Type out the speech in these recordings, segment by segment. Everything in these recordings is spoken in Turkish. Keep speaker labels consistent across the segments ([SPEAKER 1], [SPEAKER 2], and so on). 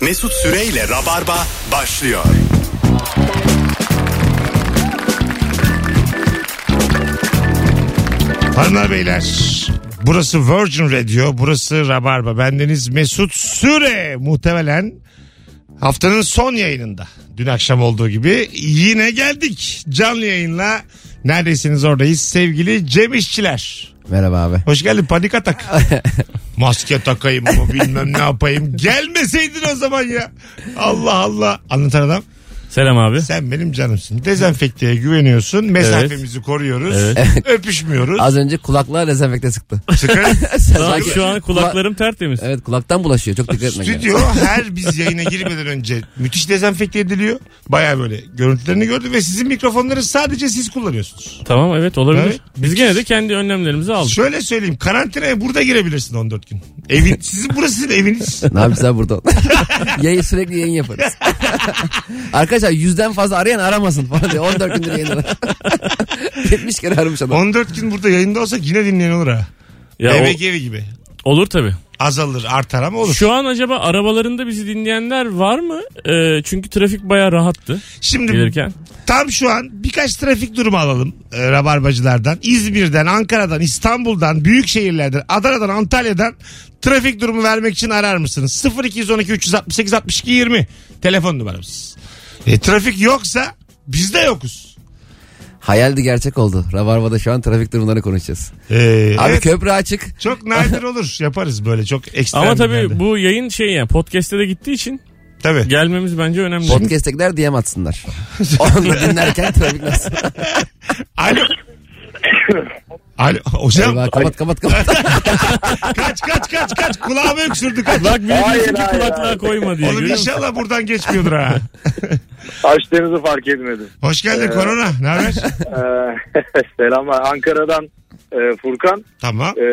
[SPEAKER 1] Mesut Süreyle Rabarba başlıyor.
[SPEAKER 2] Hanımlar beyler burası Virgin Radio burası Rabarba bendeniz Mesut Süre muhtemelen haftanın son yayınında dün akşam olduğu gibi yine geldik canlı yayınla neredesiniz oradayız sevgili Cem İşçiler.
[SPEAKER 3] Merhaba abi.
[SPEAKER 2] Hoş geldin panik atak. Maske takayım mı bilmem ne yapayım. Gelmeseydin o zaman ya. Allah Allah. Anlatan adam
[SPEAKER 4] Selam abi.
[SPEAKER 2] sen benim canımsın. Dezenfekteye güveniyorsun. Mesafemizi koruyoruz. Öpüşmüyoruz.
[SPEAKER 3] Az önce kulaklığa dezenfekte sıktı.
[SPEAKER 2] Sıkarız.
[SPEAKER 4] Daha şu an kulaklarım tertemiz.
[SPEAKER 3] Kula- Evet kulaktan bulaşıyor. Çok dikkat etmek lazım.
[SPEAKER 2] Stüdyo her biz yayına girmeden önce müthiş dezenfekte ediliyor. Baya böyle görüntülerini gördüm ve sizin mikrofonları sadece siz kullanıyorsunuz.
[SPEAKER 4] Tamam evet olabilir.
[SPEAKER 2] Evet.
[SPEAKER 4] Biz gene de kendi önlemlerimizi aldık.
[SPEAKER 2] Şöyle söyleyeyim karantinaya burada girebilirsin 14 gün. Evin, sizin burası sizin eviniz.
[SPEAKER 3] Ne yapacağız abi burada? yayın sürekli yayın yaparız. Arkadaşlar yüzden fazla arayan aramasın falan diye. 14 gündür yayın arar. 70 kere aramış adam.
[SPEAKER 2] 14 gün burada yayında olsak yine dinleyen olur ha.
[SPEAKER 4] Ya
[SPEAKER 2] Eve
[SPEAKER 4] o-
[SPEAKER 2] evi gibi.
[SPEAKER 4] olur tabii.
[SPEAKER 2] Azalır artar ama olur.
[SPEAKER 4] Şu an acaba arabalarında bizi dinleyenler var mı? Ee, çünkü trafik bayağı rahattı
[SPEAKER 2] Şimdi
[SPEAKER 4] gelirken.
[SPEAKER 2] tam şu an birkaç trafik durumu alalım e, rabarbacılardan. İzmir'den, Ankara'dan, İstanbul'dan, büyük şehirlerden, Adana'dan, Antalya'dan trafik durumu vermek için arar mısınız? 0212 368 62 20 telefon numaramız. E, trafik yoksa biz de yokuz.
[SPEAKER 3] Hayaldi gerçek oldu. Rabarba'da şu an trafik durumlarını konuşacağız.
[SPEAKER 2] E,
[SPEAKER 3] Abi
[SPEAKER 2] evet,
[SPEAKER 3] köprü açık.
[SPEAKER 2] çok nadir olur yaparız böyle çok ekstrem.
[SPEAKER 4] Ama tabii
[SPEAKER 2] günlerde.
[SPEAKER 4] bu yayın şey yani podcast'e de gittiği için
[SPEAKER 2] Tabii.
[SPEAKER 4] gelmemiz bence önemli.
[SPEAKER 3] Podcast'tekiler DM atsınlar. Onu dinlerken trafik nasıl?
[SPEAKER 2] Alo. Alo hocam
[SPEAKER 3] Eyvah, kapat kapat kapat.
[SPEAKER 2] kaç kaç kaç kaç kulağımı öksürdü kaç.
[SPEAKER 4] Bak bir
[SPEAKER 5] Hayır,
[SPEAKER 4] diyorsun ki
[SPEAKER 5] hayır,
[SPEAKER 4] kulaklığa
[SPEAKER 5] hayır.
[SPEAKER 4] koyma diye.
[SPEAKER 2] Oğlum
[SPEAKER 4] görüyor musun?
[SPEAKER 2] inşallah buradan geçmiyordur ha.
[SPEAKER 5] Açtığınızı fark etmedim.
[SPEAKER 2] Hoş geldin korona. Ne haber?
[SPEAKER 5] Ee, selamlar. Ankara'dan e, Furkan.
[SPEAKER 2] Tamam.
[SPEAKER 5] E,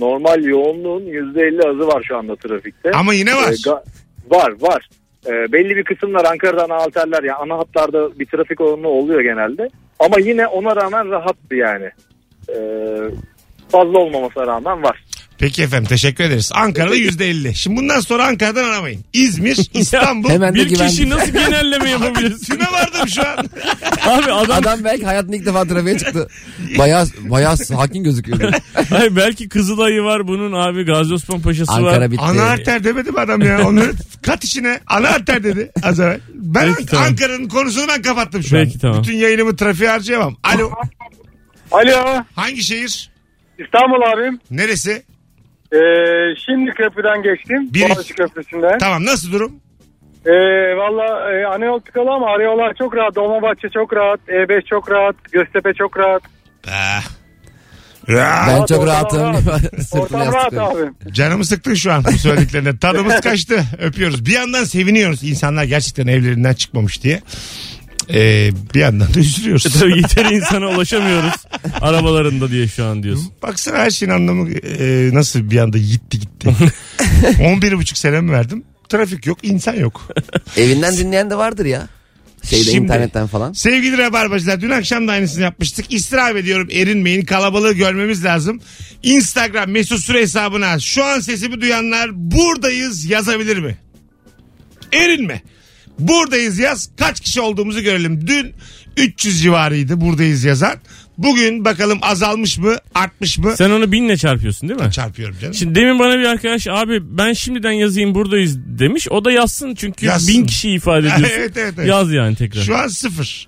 [SPEAKER 5] normal yoğunluğun %50 azı var şu anda trafikte.
[SPEAKER 2] Ama yine var.
[SPEAKER 5] E, ga- var var. E, belli bir kısımlar Ankara'dan ana hatlarlar yani ana hatlarda bir trafik yoğunluğu oluyor genelde. Ama yine ona rağmen rahattı yani. E, fazla olmamasına rağmen var.
[SPEAKER 2] Peki efendim teşekkür ederiz. Ankara'da yüzde elli. Şimdi bundan sonra Ankara'dan aramayın. İzmir, İstanbul.
[SPEAKER 3] Hemen de
[SPEAKER 4] Bir kişi
[SPEAKER 3] güvendim.
[SPEAKER 4] nasıl genelleme yapabilir?
[SPEAKER 2] Tüme vardım şu an.
[SPEAKER 4] Abi adam,
[SPEAKER 3] Adam belki hayatında ilk defa trafiğe çıktı. Bayağı bayağı sakin gözüküyordu.
[SPEAKER 4] Hayır, belki Kızılay'ı var bunun abi Gazi Osman Paşa'sı var.
[SPEAKER 3] Ankara bitti.
[SPEAKER 2] Ana arter demedi mi adam ya? Onları kat işine ana arter dedi az evvel. Ben
[SPEAKER 4] Peki,
[SPEAKER 2] An-
[SPEAKER 4] tamam.
[SPEAKER 2] Ankara'nın konusunu ben kapattım şu an.
[SPEAKER 4] Peki, tamam.
[SPEAKER 2] Bütün yayınımı trafiğe harcayamam. Alo
[SPEAKER 6] Alo
[SPEAKER 2] hangi şehir?
[SPEAKER 6] İstanbul abim.
[SPEAKER 2] Neresi?
[SPEAKER 6] Ee, şimdi köprüden geçtim.
[SPEAKER 2] Bir-
[SPEAKER 6] Boğaziçi Köprüsü'nden.
[SPEAKER 2] Tamam nasıl durum?
[SPEAKER 6] Ee, Valla e, ana tıkalı ama arıyorlar çok rahat. Dolmabahçe çok rahat. E5 çok rahat. Göztepe çok rahat.
[SPEAKER 2] Ah. Ya,
[SPEAKER 3] Ben
[SPEAKER 6] Abi,
[SPEAKER 3] çok
[SPEAKER 6] ortam
[SPEAKER 3] rahatım.
[SPEAKER 6] rahat.
[SPEAKER 3] Sırtıma
[SPEAKER 6] Ortam
[SPEAKER 3] yastık
[SPEAKER 6] rahat
[SPEAKER 3] koydum.
[SPEAKER 6] abi.
[SPEAKER 2] Canımı sıktın şu an bu söylediklerine. Tadımız kaçtı. Öpüyoruz. Bir yandan seviniyoruz. İnsanlar gerçekten evlerinden çıkmamış diye. Ee, bir yandan da üzülüyoruz.
[SPEAKER 4] Tabii yeteri insana ulaşamıyoruz arabalarında diye şu an diyorsun.
[SPEAKER 2] Baksana her şeyin anlamı e, nasıl bir anda gitti gitti. 11 buçuk senemi verdim. Trafik yok, insan yok.
[SPEAKER 3] Evinden dinleyen de vardır ya. Şeyde
[SPEAKER 2] Şimdi-
[SPEAKER 3] internetten falan.
[SPEAKER 2] Sevgili Rabarbacılar dün akşam da aynısını yapmıştık. İstirham ediyorum erinmeyin. Kalabalığı görmemiz lazım. Instagram mesut süre hesabına şu an sesimi duyanlar buradayız yazabilir mi? Erinme. Buradayız yaz. Kaç kişi olduğumuzu görelim. Dün 300 civarıydı buradayız yazan. Bugün bakalım azalmış mı artmış mı?
[SPEAKER 4] Sen onu binle çarpıyorsun değil mi?
[SPEAKER 2] Çarpıyorum canım.
[SPEAKER 4] Şimdi demin bana bir arkadaş abi ben şimdiden yazayım buradayız demiş. O da yazsın çünkü
[SPEAKER 2] Yazsın.
[SPEAKER 4] bin kişi ifade ediyorsun.
[SPEAKER 2] evet evet evet.
[SPEAKER 4] Yaz yani tekrar.
[SPEAKER 2] Şu an sıfır.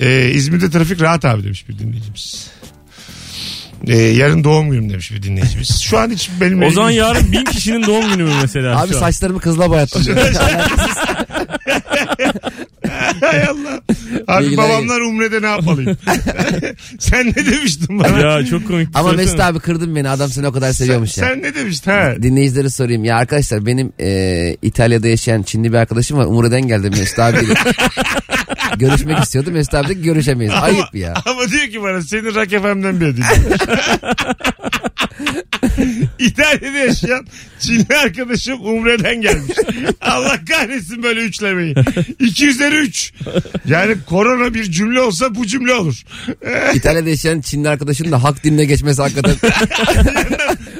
[SPEAKER 2] Ee, İzmir'de trafik rahat abi demiş bir dinleyicimiz. Ee, yarın doğum günüm demiş bir dinleyicimiz. Şu an hiç benim
[SPEAKER 4] o zaman
[SPEAKER 2] elim-
[SPEAKER 4] yarın bin kişinin doğum günü mü mesela?
[SPEAKER 3] Abi
[SPEAKER 4] şu an?
[SPEAKER 3] saçlarımı kızla boyattım. diyor.
[SPEAKER 2] Hay Allah. Abi
[SPEAKER 3] Bilgiler
[SPEAKER 2] babamlar umrede ne yapmalıyım? Sen ne demiştin bana?
[SPEAKER 4] Ya çok komik.
[SPEAKER 3] Ama
[SPEAKER 4] Söylesene.
[SPEAKER 3] Mesut abi kırdın beni. Adam seni o kadar
[SPEAKER 2] sen,
[SPEAKER 3] seviyormuş ya.
[SPEAKER 2] sen ne demiştin? Ha?
[SPEAKER 3] Dinleyicilere sorayım ya arkadaşlar benim e, İtalya'da yaşayan Çinli bir arkadaşım var. Umre'den geldi Mesut abiyle. Görüşmek istiyordu. Mesut abi de görüşemeyiz. Ayıp ya.
[SPEAKER 2] Ama diyor ki bana seni Rock FM'den bir ödeyeceğim. İtalya'da yaşayan Çinli arkadaşım Umre'den gelmiş. Allah kahretsin böyle üçlemeyi. 2 üzeri 3. Yani korona bir cümle olsa bu cümle olur.
[SPEAKER 3] İtalya'da yaşayan Çinli arkadaşın da hak dinine geçmesi hakikaten.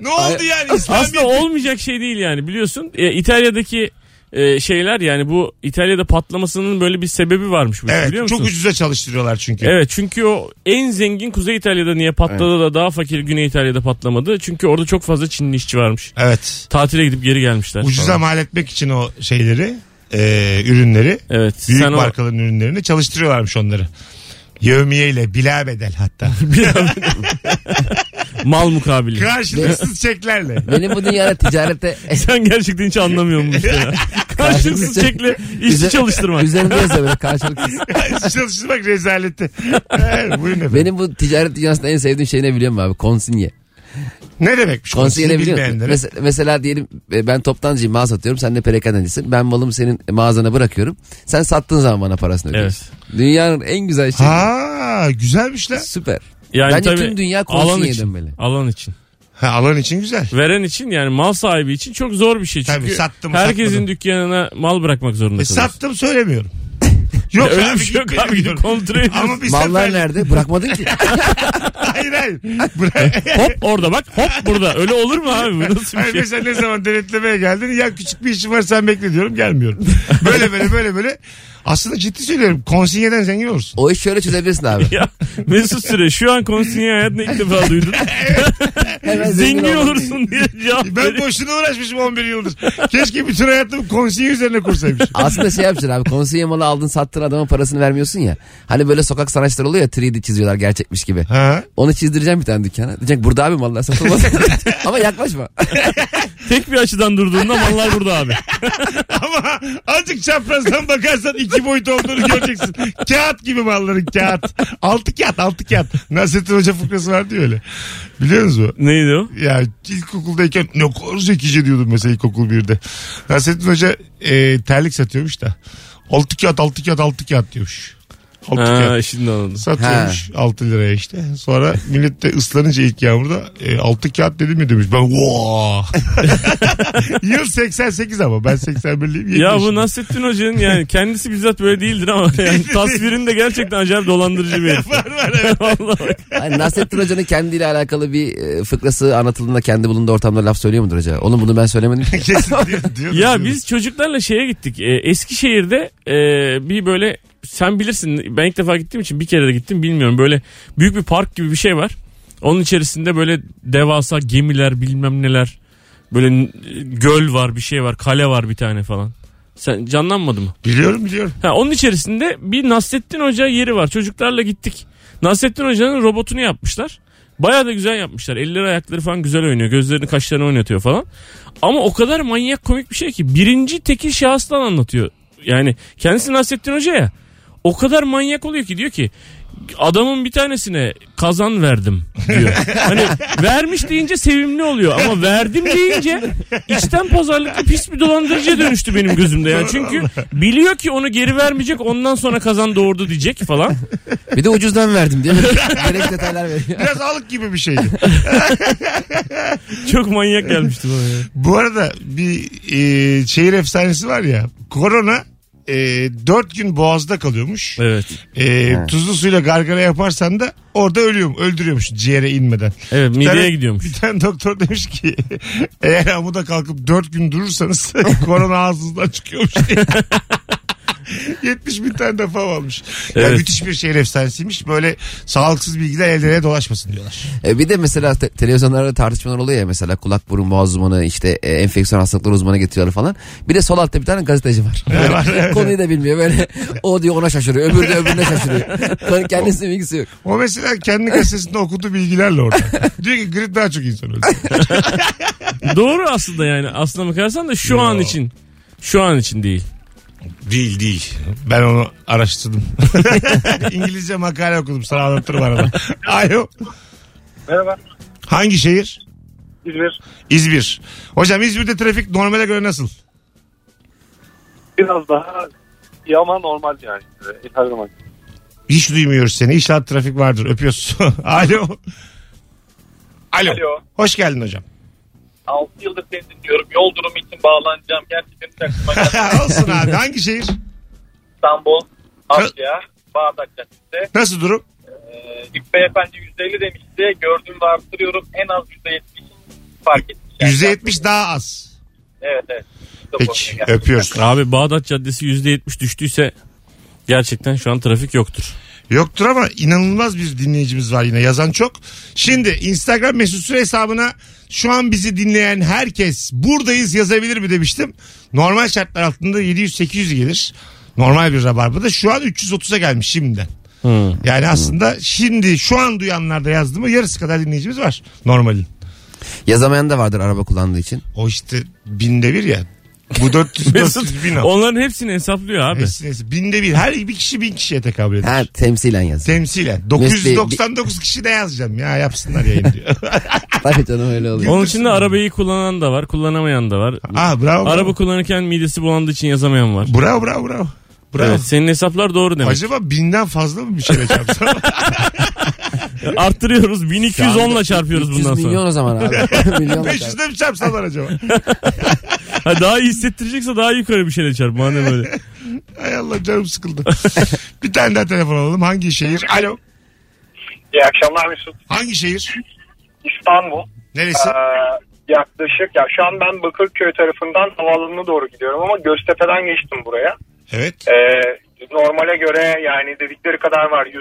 [SPEAKER 2] ne oldu yani İslamiyet?
[SPEAKER 4] Aslında olmayacak şey değil yani biliyorsun. E, İtalya'daki e, şeyler yani bu İtalya'da patlamasının böyle bir sebebi varmış. bu, biliyor
[SPEAKER 2] Evet
[SPEAKER 4] musun?
[SPEAKER 2] çok ucuza çalıştırıyorlar çünkü.
[SPEAKER 4] Evet çünkü o en zengin Kuzey İtalya'da niye patladı da daha fakir Güney İtalya'da patlamadı? Çünkü orada çok fazla Çinli işçi varmış.
[SPEAKER 2] Evet.
[SPEAKER 4] Tatile gidip geri gelmişler.
[SPEAKER 2] Ucuza
[SPEAKER 4] falan.
[SPEAKER 2] mal etmek için o şeyleri e, ürünleri
[SPEAKER 4] Evet.
[SPEAKER 2] büyük
[SPEAKER 4] sen o-
[SPEAKER 2] markaların ürünlerini çalıştırıyorlarmış onları. Yevmiyeyle bila bedel hatta.
[SPEAKER 4] mal mukabili.
[SPEAKER 2] Karşılıksız çeklerle.
[SPEAKER 3] Benim bu dünyada ticarete
[SPEAKER 4] Sen gerçekten hiç anlamıyorsun bu işleri. ya. Karşılıksız çekle işçi
[SPEAKER 3] Üzer-
[SPEAKER 4] çalıştırmak.
[SPEAKER 3] Üzerinde yazıyor böyle karşılıksız.
[SPEAKER 2] Çalıştırmak rezaleti. Evet, Buyurun efendim.
[SPEAKER 3] Benim bu ticaret dünyasında en sevdiğim şey ne biliyor musun abi? Konsinye.
[SPEAKER 2] Ne demekmiş?
[SPEAKER 3] Konsinye ne
[SPEAKER 2] Konsinye
[SPEAKER 3] biliyor musun?
[SPEAKER 2] bilmeyenlere.
[SPEAKER 3] Mesela, mesela diyelim e, ben toptancıyım mal satıyorum. Sen de perakendecisin. Ben malımı senin mağazana bırakıyorum. Sen sattığın zaman bana parasını ödüyorsun. Dünyanın en güzel şeyi.
[SPEAKER 2] Ha güzelmiş lan.
[SPEAKER 3] Süper.
[SPEAKER 4] Yani
[SPEAKER 3] Bence
[SPEAKER 4] tabii
[SPEAKER 3] tüm dünya
[SPEAKER 4] alan
[SPEAKER 3] konsinye
[SPEAKER 4] için.
[SPEAKER 3] dönmeli.
[SPEAKER 4] Alan için.
[SPEAKER 2] Ha, alan için güzel.
[SPEAKER 4] Veren için yani mal sahibi için çok zor bir şey. Çünkü
[SPEAKER 2] Tabii, sattım,
[SPEAKER 4] herkesin
[SPEAKER 2] satmadım.
[SPEAKER 4] dükkanına mal bırakmak zorunda
[SPEAKER 2] E,
[SPEAKER 4] kalıyorsun.
[SPEAKER 2] sattım söylemiyorum. Yok
[SPEAKER 4] Öyle
[SPEAKER 2] abi,
[SPEAKER 4] bir şey yok
[SPEAKER 2] gitmedim
[SPEAKER 4] abi, gidip
[SPEAKER 2] diyorum.
[SPEAKER 4] kontrol ediyorsun.
[SPEAKER 2] Ama bir
[SPEAKER 3] Mallar
[SPEAKER 2] sefer-
[SPEAKER 3] nerede? Bırakmadın ki.
[SPEAKER 2] Hayır hayır. Bırak.
[SPEAKER 4] Hop orada bak hop burada. Öyle olur mu abi bu nasıl
[SPEAKER 2] Hayır,
[SPEAKER 4] bir şey?
[SPEAKER 2] mesela ne zaman denetlemeye geldin ya küçük bir işim var sen bekle diyorum gelmiyorum. Böyle böyle böyle böyle. Aslında ciddi söylüyorum konsinyeden zengin olursun.
[SPEAKER 3] O işi şöyle çözebilirsin abi.
[SPEAKER 4] Ya Mesut Süre şu an konsinye hayatını ilk defa duydun.
[SPEAKER 3] Hemen
[SPEAKER 4] Zengin
[SPEAKER 3] olmak
[SPEAKER 4] olursun diye cevap
[SPEAKER 2] Ben
[SPEAKER 4] veriyor.
[SPEAKER 2] boşuna uğraşmışım 11 yıldır. Keşke bütün hayatımı konsiye üzerine kursaymışım.
[SPEAKER 3] Aslında şey yapacaksın abi konsiye malı aldın sattın adama parasını vermiyorsun ya. Hani böyle sokak sanatçıları oluyor ya 3D çiziyorlar gerçekmiş gibi.
[SPEAKER 2] Ha?
[SPEAKER 3] Onu çizdireceğim bir tane dükkana. Diyecek burada abi mallar satılmaz. Ama yaklaşma.
[SPEAKER 4] Tek bir açıdan durduğunda mallar burada abi.
[SPEAKER 2] Ama azıcık çaprazdan bakarsan iki boyut olduğunu göreceksin. Kağıt gibi malların kağıt. Altı kağıt altı kağıt. Nasrettin Hoca fıkrası vardı ya öyle. Biliyor musunuz?
[SPEAKER 4] Neydi o?
[SPEAKER 2] Ya ilkokuldayken ne kadar zekice diyordum mesela ilkokul birde. Nasrettin Hoca e, terlik satıyormuş da. Altı kağıt altı kağıt altı kağıt diyormuş. Altı
[SPEAKER 4] Ha,
[SPEAKER 2] kağıt.
[SPEAKER 4] şimdi anladım.
[SPEAKER 2] Satıyormuş altı liraya işte. Sonra millet de ıslanınca ilk yağmurda e, altı kağıt dedi mi demiş. Ben vaa. Yıl 88 ama ben 81'liyim. yedi
[SPEAKER 4] Ya bu
[SPEAKER 2] yaşındayım.
[SPEAKER 4] Nasrettin Hoca'nın yani kendisi bizzat böyle değildir ama yani tasvirinde gerçekten acayip dolandırıcı bir herif.
[SPEAKER 2] var var evet.
[SPEAKER 4] Vallahi bak.
[SPEAKER 3] Hani Nasrettin Hoca'nın kendiyle alakalı bir e, fıkrası anlatıldığında kendi bulunduğu ortamda laf söylüyor mudur acaba? Oğlum bunu ben söylemedim. ki.
[SPEAKER 2] Kesin diyor- diyor- diyor.
[SPEAKER 4] ya biz çocuklarla şeye gittik. Ee, Eskişehir'de e, bir böyle sen bilirsin ben ilk defa gittiğim için bir kere de gittim bilmiyorum. Böyle büyük bir park gibi bir şey var. Onun içerisinde böyle devasa gemiler bilmem neler. Böyle n- göl var bir şey var kale var bir tane falan. Sen canlanmadı mı?
[SPEAKER 2] biliyorum biliyorum.
[SPEAKER 4] Ha, onun içerisinde bir Nasrettin Hoca yeri var. Çocuklarla gittik. Nasrettin Hoca'nın robotunu yapmışlar. Bayağı da güzel yapmışlar. Elleri ayakları falan güzel oynuyor. Gözlerini kaşlarını oynatıyor falan. Ama o kadar manyak komik bir şey ki. Birinci tekil şahıstan anlatıyor. Yani kendisi Nasrettin Hoca ya. O kadar manyak oluyor ki diyor ki adamın bir tanesine kazan verdim diyor. hani vermiş deyince sevimli oluyor ama verdim deyince içten pazarlıklı pis bir dolandırıcıya dönüştü benim gözümde. Yani çünkü biliyor ki onu geri vermeyecek ondan sonra kazan doğurdu diyecek falan.
[SPEAKER 3] Bir de ucuzdan verdim diye. Gerek detaylar veriyor.
[SPEAKER 2] Biraz alık gibi bir şeydi.
[SPEAKER 4] Çok manyak gelmişti bana ya.
[SPEAKER 2] Bu arada bir e, şehir efsanesi var ya. Korona e, 4 gün boğazda kalıyormuş.
[SPEAKER 4] Evet.
[SPEAKER 2] E, tuzlu suyla gargara yaparsan da orada ölüyorum, öldürüyormuş ciğere inmeden.
[SPEAKER 4] Evet
[SPEAKER 2] Bir
[SPEAKER 4] mideye
[SPEAKER 2] tane-
[SPEAKER 4] gidiyormuş.
[SPEAKER 2] Bir tane doktor demiş ki eğer amuda kalkıp 4 gün durursanız korona ağzınızdan çıkıyormuş diye. 70 bin tane defa almış. Ya
[SPEAKER 4] Evet.
[SPEAKER 2] müthiş bir şehir efsanesiymiş. Böyle sağlıksız bilgiler ellere dolaşmasın diyorlar.
[SPEAKER 3] E, bir de mesela te- televizyonlarda tartışmalar oluyor ya mesela kulak burun boğaz uzmanı işte e, enfeksiyon hastalıkları uzmanı getiriyorlar falan. Bir de sol altta bir tane gazeteci var. Böyle
[SPEAKER 2] var, evet.
[SPEAKER 3] konuyu da bilmiyor böyle o diyor ona şaşırıyor öbürü de öbürüne şaşırıyor. Kendisinin bilgisi yok.
[SPEAKER 2] O mesela kendi gazetesinde okuduğu bilgilerle orada. Diyor ki grip daha çok insan öldü.
[SPEAKER 4] Doğru aslında yani aslına bakarsan da şu
[SPEAKER 2] Yo.
[SPEAKER 4] an için. Şu an için değil.
[SPEAKER 2] Değil değil. Ben onu araştırdım. İngilizce makale okudum sana anlatırım arada. Alo.
[SPEAKER 6] Merhaba.
[SPEAKER 2] Hangi şehir?
[SPEAKER 6] İzmir.
[SPEAKER 2] İzmir. Hocam İzmir'de trafik normale göre nasıl?
[SPEAKER 6] Biraz daha iyi ama normal yani. Ee, Her zaman.
[SPEAKER 2] Hiç duymuyoruz seni. İnşallah trafik vardır. Öpüyoruz. Alo. Alo.
[SPEAKER 7] Alo.
[SPEAKER 2] Hoş geldin hocam.
[SPEAKER 7] 6 yıldır seni dinliyorum. Yol durumu için bağlanacağım. Gerçekten hiç aklıma gelmedi.
[SPEAKER 2] Olsun abi. Hangi şehir?
[SPEAKER 7] İstanbul, Asya, Bağdat Caddesi.
[SPEAKER 2] Nasıl durum?
[SPEAKER 7] Ee, İlk beyefendi %50 demişti. Gördüğümde arttırıyorum. En az %70 fark etmiş. Yani.
[SPEAKER 2] %70 daha az.
[SPEAKER 7] Evet evet. da
[SPEAKER 2] Peki
[SPEAKER 7] konuya geldi.
[SPEAKER 2] öpüyoruz.
[SPEAKER 4] Abi Bağdat Caddesi %70 düştüyse gerçekten şu an trafik yoktur.
[SPEAKER 2] Yoktur ama inanılmaz bir dinleyicimiz var yine yazan çok. Şimdi Instagram mesut süre hesabına şu an bizi dinleyen herkes buradayız yazabilir mi demiştim. Normal şartlar altında 700-800 gelir. Normal bir rabarbada şu an 330'a gelmiş şimdiden. Yani aslında şimdi şu an duyanlarda yazdı mı yarısı kadar dinleyicimiz var normalin.
[SPEAKER 3] Yazamayan da vardır araba kullandığı için.
[SPEAKER 2] O işte binde bir ya. Bu 400 400
[SPEAKER 4] Mesut
[SPEAKER 2] bin al.
[SPEAKER 4] onların hepsini hesaplıyor abi.
[SPEAKER 2] Neyse, neyse. Binde bir. Her bir kişi bin kişiye tekabül eder.
[SPEAKER 3] Ha temsilen yaz.
[SPEAKER 2] Temsilen.
[SPEAKER 3] Mesleği-
[SPEAKER 2] 999 kişi ne yazacağım ya yapsınlar yayın diyor.
[SPEAKER 3] Tabii canım öyle oluyor.
[SPEAKER 4] Onun için de arabayı kullanan da var, kullanamayan da var.
[SPEAKER 2] Aa bravo. bravo.
[SPEAKER 4] Araba kullanırken midesi bulandığı için yazamayan var.
[SPEAKER 2] Bravo bravo bravo. Bravo.
[SPEAKER 4] Evet, senin hesaplar doğru demek.
[SPEAKER 2] Acaba binden fazla mı bir şey çarpsam?
[SPEAKER 4] E, Arttırıyoruz. 1210 ile çarpıyoruz
[SPEAKER 3] 300
[SPEAKER 4] bundan
[SPEAKER 3] milyon
[SPEAKER 4] sonra.
[SPEAKER 3] o zaman abi. milyon
[SPEAKER 2] 500'de mi çarpsalar acaba?
[SPEAKER 4] Ha, daha iyi hissettirecekse daha yukarı bir şeyle çarp. Madem öyle.
[SPEAKER 2] Ay Allah canım sıkıldı. bir tane daha telefon alalım. Hangi şehir? Alo.
[SPEAKER 8] İyi akşamlar Mesut.
[SPEAKER 2] Hangi şehir?
[SPEAKER 8] İstanbul.
[SPEAKER 2] Neresi?
[SPEAKER 8] Ee, yaklaşık ya şu an ben Bakırköy tarafından havaalanına doğru gidiyorum ama Göztepe'den geçtim buraya.
[SPEAKER 2] Evet.
[SPEAKER 8] Ee, normale göre yani dedikleri kadar var. %50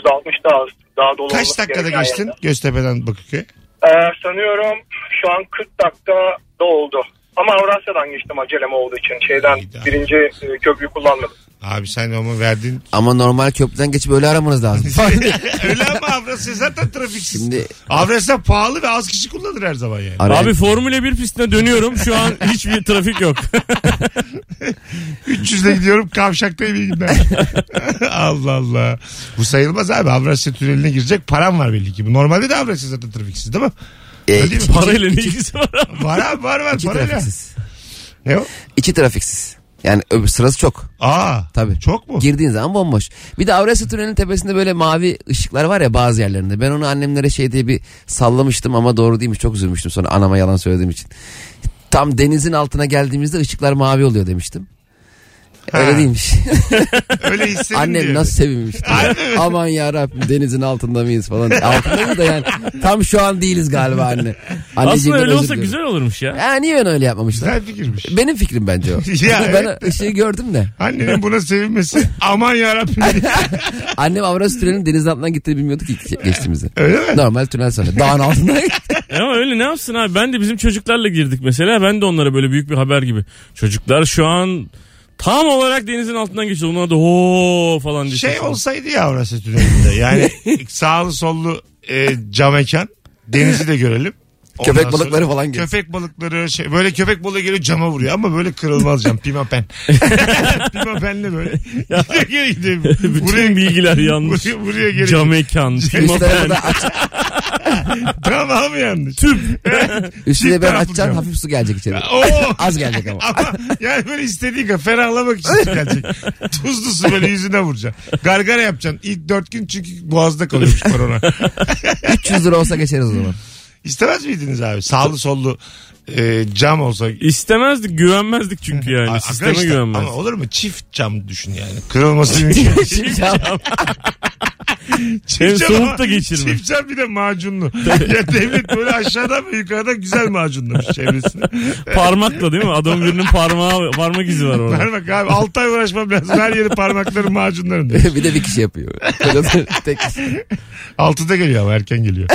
[SPEAKER 8] %60 daha, daha dolu
[SPEAKER 2] Kaç
[SPEAKER 8] olması
[SPEAKER 2] dakikada
[SPEAKER 8] gereken
[SPEAKER 2] geçtin
[SPEAKER 8] yerde.
[SPEAKER 2] Göztepe'den Bakırköy?
[SPEAKER 8] Ee, sanıyorum şu an 40 dakika da oldu. Ama Avrasya'dan geçtim acelem olduğu için. Şeyden
[SPEAKER 2] Hayda.
[SPEAKER 8] birinci e, köprüyü kullanmadım.
[SPEAKER 2] Abi sen ama verdin.
[SPEAKER 3] Ama normal köprüden geçip öyle aramanız lazım.
[SPEAKER 2] Öyle ama Avrasya zaten trafiksiz.
[SPEAKER 3] Şimdi-
[SPEAKER 2] Avrasya pahalı ve az kişi kullanır her zaman yani.
[SPEAKER 3] Arayan-
[SPEAKER 4] Abi Formula 1 pistine dönüyorum. Şu an hiçbir trafik yok.
[SPEAKER 2] 300'le gidiyorum kavşaktayım iyi günler. Allah Allah. Bu sayılmaz abi. Avrasya tüneline girecek param var belli ki. Bu Normalde de Avrasya zaten trafiksiz değil mi?
[SPEAKER 3] E,
[SPEAKER 2] Öyle değil mi?
[SPEAKER 4] Parayla ne ilgisi var abi?
[SPEAKER 2] Var abi var var.
[SPEAKER 3] İki
[SPEAKER 2] Parayla.
[SPEAKER 3] trafiksiz.
[SPEAKER 2] Ne o?
[SPEAKER 3] İki trafiksiz. Yani öbür sırası çok.
[SPEAKER 2] Aa.
[SPEAKER 3] Tabii.
[SPEAKER 2] Çok mu?
[SPEAKER 3] Girdiğin zaman bomboş. Bir de Avrasya Tüneli'nin tepesinde böyle mavi ışıklar var ya bazı yerlerinde. Ben onu annemlere şey diye bir sallamıştım ama doğru değilmiş. Çok üzülmüştüm sonra anama yalan söylediğim için. Tam denizin altına geldiğimizde ışıklar mavi oluyor demiştim.
[SPEAKER 2] Ha.
[SPEAKER 3] Öyle değilmiş.
[SPEAKER 2] Öyle hissedin
[SPEAKER 3] Annem
[SPEAKER 2] diyor.
[SPEAKER 3] nasıl sevinmişti. ya. Aman ya Rabbim denizin altında mıyız falan. Altında mı da yani tam şu an değiliz galiba anne.
[SPEAKER 4] Aslında
[SPEAKER 3] Anneciğimden
[SPEAKER 4] öyle
[SPEAKER 3] özür
[SPEAKER 4] olsa
[SPEAKER 3] diliyorum.
[SPEAKER 4] güzel olurmuş ya.
[SPEAKER 3] Ha, niye ben öyle yapmamışlar?
[SPEAKER 2] Güzel fikirmiş.
[SPEAKER 3] Benim fikrim bence o.
[SPEAKER 2] Ya,
[SPEAKER 3] ben
[SPEAKER 2] evet.
[SPEAKER 3] ışığı gördüm de.
[SPEAKER 2] Annenin buna sevinmesi aman yarabbim.
[SPEAKER 3] Annem Avrasya Tüneli'nin deniz altından gittiğini bilmiyordu ki geçtiğimizde.
[SPEAKER 2] Öyle mi?
[SPEAKER 3] Normal tünel sonra. Dağın altından gitti.
[SPEAKER 4] E Ama öyle ne yapsın abi? Ben de bizim çocuklarla girdik mesela. Ben de onlara böyle büyük bir haber gibi. Çocuklar şu an tam olarak denizin altından geçiyor. Onlar da ho falan diye.
[SPEAKER 2] Şey
[SPEAKER 4] sesler.
[SPEAKER 2] olsaydı ya Avrasya tünelinde. Yani sağlı sollu e, cam mekan. Denizi de görelim. Ondan
[SPEAKER 3] Köpek
[SPEAKER 2] sonra-
[SPEAKER 3] balıkları falan geliyor.
[SPEAKER 2] Köpek balıkları şey, böyle köpek balığı geliyor cama vuruyor ama böyle kırılmaz cam pimapen. Pimapenle böyle. Gidiyor geri gidiyor. Buraya,
[SPEAKER 4] Bütün bilgiler yanlış.
[SPEAKER 2] buraya, buraya geri
[SPEAKER 4] Cam mekan,
[SPEAKER 2] Şey
[SPEAKER 3] Üst tarafı
[SPEAKER 4] pimapen,
[SPEAKER 3] da aç,
[SPEAKER 2] Tamamı yanlış.
[SPEAKER 4] tüp.
[SPEAKER 3] üstüne
[SPEAKER 2] Çift
[SPEAKER 3] ben
[SPEAKER 2] taraflı
[SPEAKER 3] açacağım
[SPEAKER 2] cam.
[SPEAKER 3] hafif su gelecek içeri.
[SPEAKER 2] Oo.
[SPEAKER 3] Az gelecek ama.
[SPEAKER 2] Ama yani böyle istediğin kadar ferahlamak için gelecek. Tuzlu su böyle yüzüne vuracaksın. Gargara yapacaksın. İlk dört gün çünkü boğazda kalıyormuş korona.
[SPEAKER 3] 300 lira olsa geçeriz o zaman.
[SPEAKER 2] İstemez miydiniz abi? Sağlı sollu e, cam olsa.
[SPEAKER 4] İstemezdik, güvenmezdik çünkü yani.
[SPEAKER 2] Aa,
[SPEAKER 4] Sisteme
[SPEAKER 2] arkadaşlar, Ama
[SPEAKER 4] güvenmezdik.
[SPEAKER 2] olur mu? Çift cam düşün yani. Kırılması mümkün.
[SPEAKER 4] Hem
[SPEAKER 2] Çift cam
[SPEAKER 4] soğuk
[SPEAKER 2] ama-
[SPEAKER 4] da geçirme.
[SPEAKER 2] Çift cam bir de macunlu. ya devlet böyle aşağıdan ve yukarıdan güzel macunlamış çevresini.
[SPEAKER 4] Parmakla değil mi? Adam birinin parmağı, parmak izi var orada.
[SPEAKER 2] Parmak abi 6 ay uğraşmam lazım. Her yeri parmaklarım macunlarım diyor.
[SPEAKER 3] bir de bir kişi yapıyor. Tek kişi.
[SPEAKER 2] Altıda geliyor ama erken geliyor.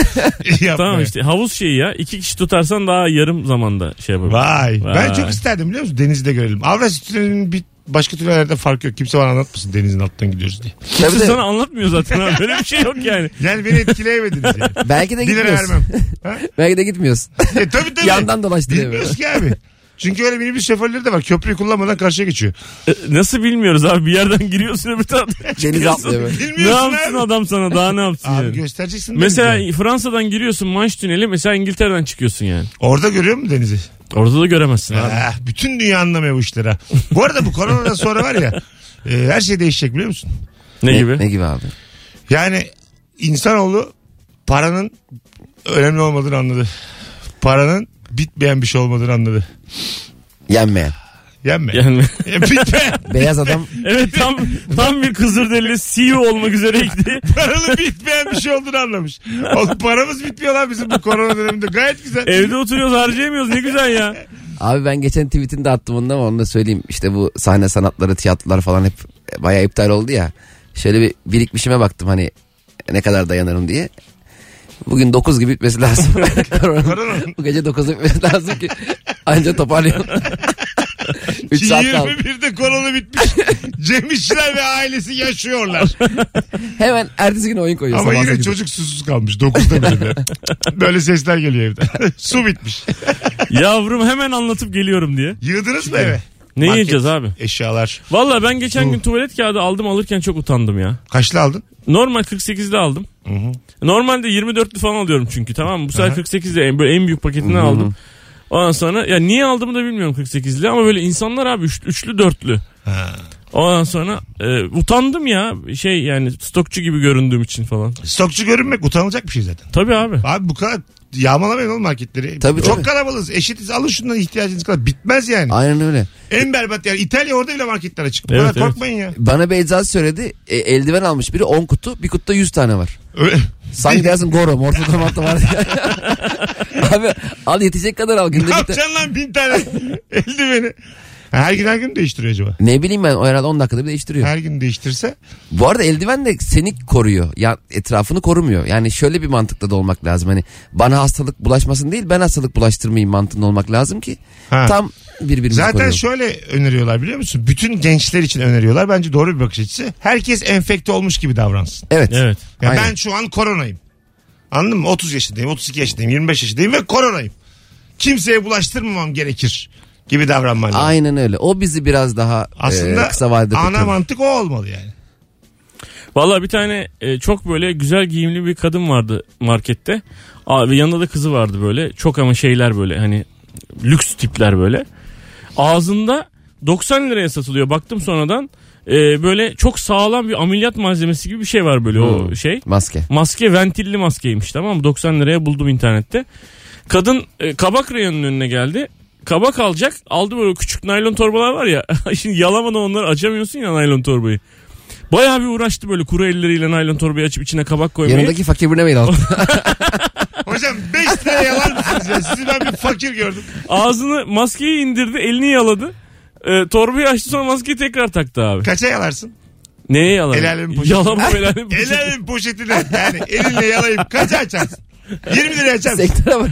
[SPEAKER 2] Yapma
[SPEAKER 4] Tamam
[SPEAKER 2] ya.
[SPEAKER 4] işte havuz şeyi ya. İki kişi tutarsan daha yarım zamanda şey yapabilir.
[SPEAKER 2] Vay.
[SPEAKER 4] Vay.
[SPEAKER 2] Ben çok isterdim biliyor musun? Denizde görelim. Avrasya Tüneli'nin bir başka tünellerde farkı yok. Kimse bana anlatmasın denizin altından gidiyoruz diye.
[SPEAKER 3] Tabii
[SPEAKER 4] Kimse
[SPEAKER 3] de-
[SPEAKER 4] sana anlatmıyor zaten abi. Böyle bir şey yok yani.
[SPEAKER 2] Yani beni etkileyemediniz yani.
[SPEAKER 3] Belki de
[SPEAKER 2] Bir lira vermem.
[SPEAKER 3] gitmiyorsun.
[SPEAKER 2] Ha?
[SPEAKER 3] Belki de gitmiyorsun.
[SPEAKER 2] E, tabii tabii.
[SPEAKER 3] Yandan dolaştırıyor böyle.
[SPEAKER 2] Bilmiyoruz ki abi. Çünkü öyle minibüs şoförleri de var. Köprüyü kullanmadan karşıya geçiyor.
[SPEAKER 4] E, Nasıl bilmiyoruz abi. Bir yerden giriyorsun öbür taraftan
[SPEAKER 3] Deniz
[SPEAKER 4] çıkıyorsun.
[SPEAKER 3] atlıyor böyle.
[SPEAKER 4] Ne
[SPEAKER 2] Bilmiyorsun
[SPEAKER 4] yapsın
[SPEAKER 2] abi.
[SPEAKER 4] adam sana daha ne yapsın
[SPEAKER 2] Abi
[SPEAKER 4] yani?
[SPEAKER 2] göstereceksin. denizi.
[SPEAKER 4] Mesela Fransa'dan giriyorsun Manş Tüneli mesela İngiltere'den çıkıyorsun yani.
[SPEAKER 2] Orada görüyor musun denizi?
[SPEAKER 4] Orada da göremezsin abi.
[SPEAKER 2] Ah, bütün dünya anlamıyor bu işleri. ha. Bu arada bu koronadan sonra var ya e, her şey değişecek biliyor musun?
[SPEAKER 4] Ne gibi?
[SPEAKER 3] Ne gibi abi?
[SPEAKER 2] Yani insanoğlu paranın önemli olmadığını anladı. Paranın bitmeyen bir şey olmadığını anladı.
[SPEAKER 3] Yenmeyen.
[SPEAKER 2] Yenme.
[SPEAKER 4] Yani
[SPEAKER 2] E, bitmeyen.
[SPEAKER 3] Beyaz adam
[SPEAKER 4] evet tam tam bir Kızılderili CEO olmak üzere gitti.
[SPEAKER 2] Paranın bitmeyen bir şey olduğunu anlamış. Oğlum paramız bitmiyor lan bizim bu korona döneminde. Gayet güzel.
[SPEAKER 4] Evde oturuyoruz harcayamıyoruz ne güzel ya.
[SPEAKER 3] Abi ben geçen tweetini de attım ondan ama onu da söyleyeyim. İşte bu sahne sanatları, tiyatrolar falan hep bayağı iptal oldu ya. Şöyle bir birikmişime baktım hani ne kadar dayanırım diye. Bugün 9 gibi bitmesi lazım. Korona- bu gece 9'da bitmesi lazım ki anca toparlayalım. 3 saat kaldı.
[SPEAKER 2] 21'de korona bitmiş. Cem İşçiler ve ailesi yaşıyorlar.
[SPEAKER 3] Hemen ertesi gün oyun koyuyor.
[SPEAKER 2] Ama
[SPEAKER 3] sabah
[SPEAKER 2] yine
[SPEAKER 3] sekizde.
[SPEAKER 2] çocuk susuz kalmış. 9'da bile de. Böyle sesler geliyor evden. Su bitmiş.
[SPEAKER 4] Yavrum hemen anlatıp geliyorum diye.
[SPEAKER 2] Yığdınız mı eve?
[SPEAKER 4] Ne
[SPEAKER 2] Market.
[SPEAKER 4] yiyeceğiz abi?
[SPEAKER 2] Eşyalar.
[SPEAKER 4] Valla ben geçen gün tuvalet kağıdı aldım alırken çok utandım ya.
[SPEAKER 2] Kaçlı aldın?
[SPEAKER 4] Normal 48'de aldım. Normalde 24'lü falan alıyorum çünkü tamam mı? Bu sefer 48'de en, böyle en büyük paketinden aldım. Ondan sonra ya niye aldığımı da bilmiyorum 48'li ama böyle insanlar abi üç, üçlü dörtlü. Ondan sonra e, utandım ya şey yani stokçu gibi göründüğüm için falan. E,
[SPEAKER 2] Stokçu görünmek utanılacak bir şey zaten.
[SPEAKER 4] Tabii abi.
[SPEAKER 2] Abi bu kadar yağmalamayın oğlum marketleri.
[SPEAKER 3] Tabii,
[SPEAKER 2] Çok
[SPEAKER 3] tabii.
[SPEAKER 2] kalabalığız. Eşitiz. Alın şundan ihtiyacınız kadar. Bitmez yani.
[SPEAKER 3] Aynen öyle.
[SPEAKER 2] En berbat yer. İtalya orada bile marketler açık. Bu
[SPEAKER 4] Evet,
[SPEAKER 2] kadar
[SPEAKER 4] evet.
[SPEAKER 2] korkmayın ya.
[SPEAKER 3] Bana bir eczacı söyledi. E, eldiven almış biri 10 kutu. Bir kutuda 100 tane var.
[SPEAKER 2] Öyle.
[SPEAKER 3] Sanki dersin Goro morfodomatta var diye. Abi al yetecek kadar al. Günde
[SPEAKER 2] Ne
[SPEAKER 3] bir tane.
[SPEAKER 2] yapacaksın lan bin tane eldiveni? Ha, Her gün her gün değiştiriyor acaba.
[SPEAKER 3] Ne bileyim ben o herhalde 10 dakikada bir değiştiriyor.
[SPEAKER 2] Her gün değiştirse.
[SPEAKER 3] Bu arada eldiven de seni koruyor. Ya etrafını korumuyor. Yani şöyle bir mantıkta da olmak lazım. Hani bana hastalık bulaşmasın değil ben hastalık bulaştırmayayım mantığında olmak lazım ki
[SPEAKER 2] Ha.
[SPEAKER 3] tam birbirimizi
[SPEAKER 2] Zaten
[SPEAKER 3] koruyalım.
[SPEAKER 2] şöyle öneriyorlar biliyor musun? Bütün gençler için öneriyorlar. Bence doğru bir bakış açısı. Herkes enfekte olmuş gibi davransın.
[SPEAKER 3] Evet.
[SPEAKER 4] Evet.
[SPEAKER 2] Ya
[SPEAKER 3] Aynen.
[SPEAKER 2] ben şu an koronayım. Anladın mı? 30 yaşındayım, 32 yaşındayım, 25 yaşındayım ve koronayım. Kimseye bulaştırmamam gerekir gibi davranman lazım.
[SPEAKER 3] Aynen öyle. O bizi biraz daha
[SPEAKER 2] Aslında
[SPEAKER 3] e, kısa vadede
[SPEAKER 2] ana
[SPEAKER 3] kurtarır.
[SPEAKER 2] mantık o olmalı yani.
[SPEAKER 4] Valla bir tane e, çok böyle güzel giyimli bir kadın vardı markette. Abi yanında da kızı vardı böyle. Çok ama şeyler böyle hani lüks tipler böyle. Ağzında 90 liraya satılıyor. Baktım sonradan e, böyle çok sağlam bir ameliyat malzemesi gibi bir şey var böyle o
[SPEAKER 3] Hmm.
[SPEAKER 4] şey.
[SPEAKER 3] Maske.
[SPEAKER 4] Maske ventilli maskeymiş tamam mı? 90 liraya buldum internette. Kadın e, kabak reyonunun önüne geldi. Kabak alacak. Aldı böyle küçük naylon torbalar var ya. Şimdi yalamadan onları açamıyorsun ya naylon torbayı. Bayağı bir uğraştı böyle kuru elleriyle naylon torbayı açıp içine kabak koymayı.
[SPEAKER 3] Yanındaki fakir birine mail al.
[SPEAKER 2] Hocam 5 liraya yalan mısınız ya? Sizi ben bir fakir gördüm.
[SPEAKER 4] Ağzını maskeyi indirdi elini yaladı. E, torbayı açtı sonra maskeyi tekrar taktı abi.
[SPEAKER 2] Kaça yalarsın?
[SPEAKER 4] Neye yaladı?
[SPEAKER 2] El alemin poşeti.
[SPEAKER 4] Yalama el alemin poşeti.
[SPEAKER 2] Elinin poşetine yani elinle yalayıp kaça açarsın? 20 liraya açarsın.
[SPEAKER 3] Sektöre bak.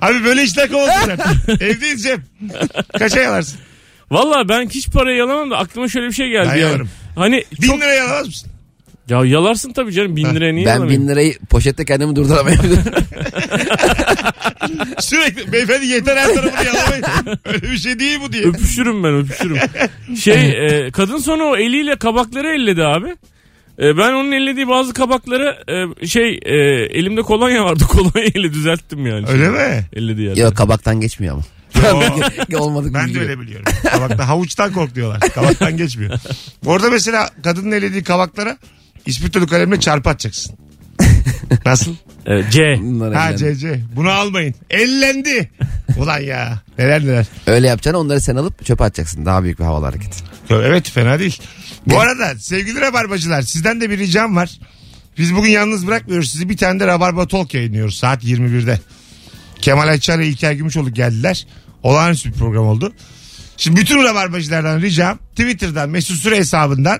[SPEAKER 2] Abi böyle işler kovalsın zaten. Evdeyiz Cem. Kaça yalarsın?
[SPEAKER 4] Valla ben hiç parayı yalamam da aklıma şöyle bir şey geldi.
[SPEAKER 2] Ben
[SPEAKER 4] yani.
[SPEAKER 2] yalarım.
[SPEAKER 4] Hani
[SPEAKER 2] 1000
[SPEAKER 4] çok...
[SPEAKER 2] liraya yalamaz mısın?
[SPEAKER 4] Ya yalarsın tabii canım bin liraya niye
[SPEAKER 3] Ben
[SPEAKER 4] yalamayayım?
[SPEAKER 3] bin lirayı poşette kendimi durduramayabilirim.
[SPEAKER 2] Sürekli beyefendi yeter her tarafını yalamayın. Öyle bir şey değil bu diye.
[SPEAKER 4] Öpüşürüm ben öpüşürüm. Şey e, kadın sonra o eliyle kabakları elledi abi. E, ben onun ellediği bazı kabakları e, şey e, elimde kolonya vardı kolonya eli düzelttim yani. Şey,
[SPEAKER 2] Öyle mi?
[SPEAKER 4] Elledi yani.
[SPEAKER 3] Yok kabaktan geçmiyor ama.
[SPEAKER 2] Yo.
[SPEAKER 3] Olmadık
[SPEAKER 2] Ben de
[SPEAKER 3] bilgi.
[SPEAKER 2] öyle biliyorum. Kabakta havuçtan kork diyorlar. Kabaktan geçmiyor. Orada mesela kadının elediği kabaklara ispirtolu kalemle çarpı atacaksın. Nasıl?
[SPEAKER 4] E, C.
[SPEAKER 3] Bunlar
[SPEAKER 2] Ha
[SPEAKER 3] ellendi.
[SPEAKER 2] CC. Bunu almayın. Ellendi. Ulan ya. Neler neler.
[SPEAKER 3] Öyle yapacaksın onları sen alıp çöpe atacaksın. Daha büyük bir havalı hareket.
[SPEAKER 2] Yo, Evet fena değil. Bu arada sevgili rabarbacılar sizden de bir ricam var. Biz bugün yalnız bırakmıyoruz sizi. Bir tane de Rabarba Talk yayınlıyoruz saat 21'de. Kemal Ayçar ve İlker Gümüşoluk geldiler. Olağanüstü bir program oldu. Şimdi bütün rabarbacılardan ricam Twitter'dan Mesut Süre hesabından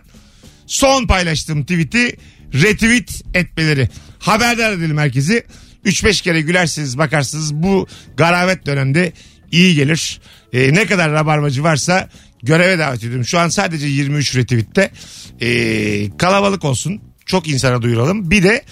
[SPEAKER 2] son paylaştığım tweet'i retweet etmeleri. Haberdar edelim herkesi. 3-5 kere gülersiniz bakarsınız bu garavet dönemde iyi gelir. Ee, ne kadar rabarbacı varsa göreve davet ediyorum. Şu an sadece 23 retweette. Ee, kalabalık olsun. Çok insana duyuralım. Bir de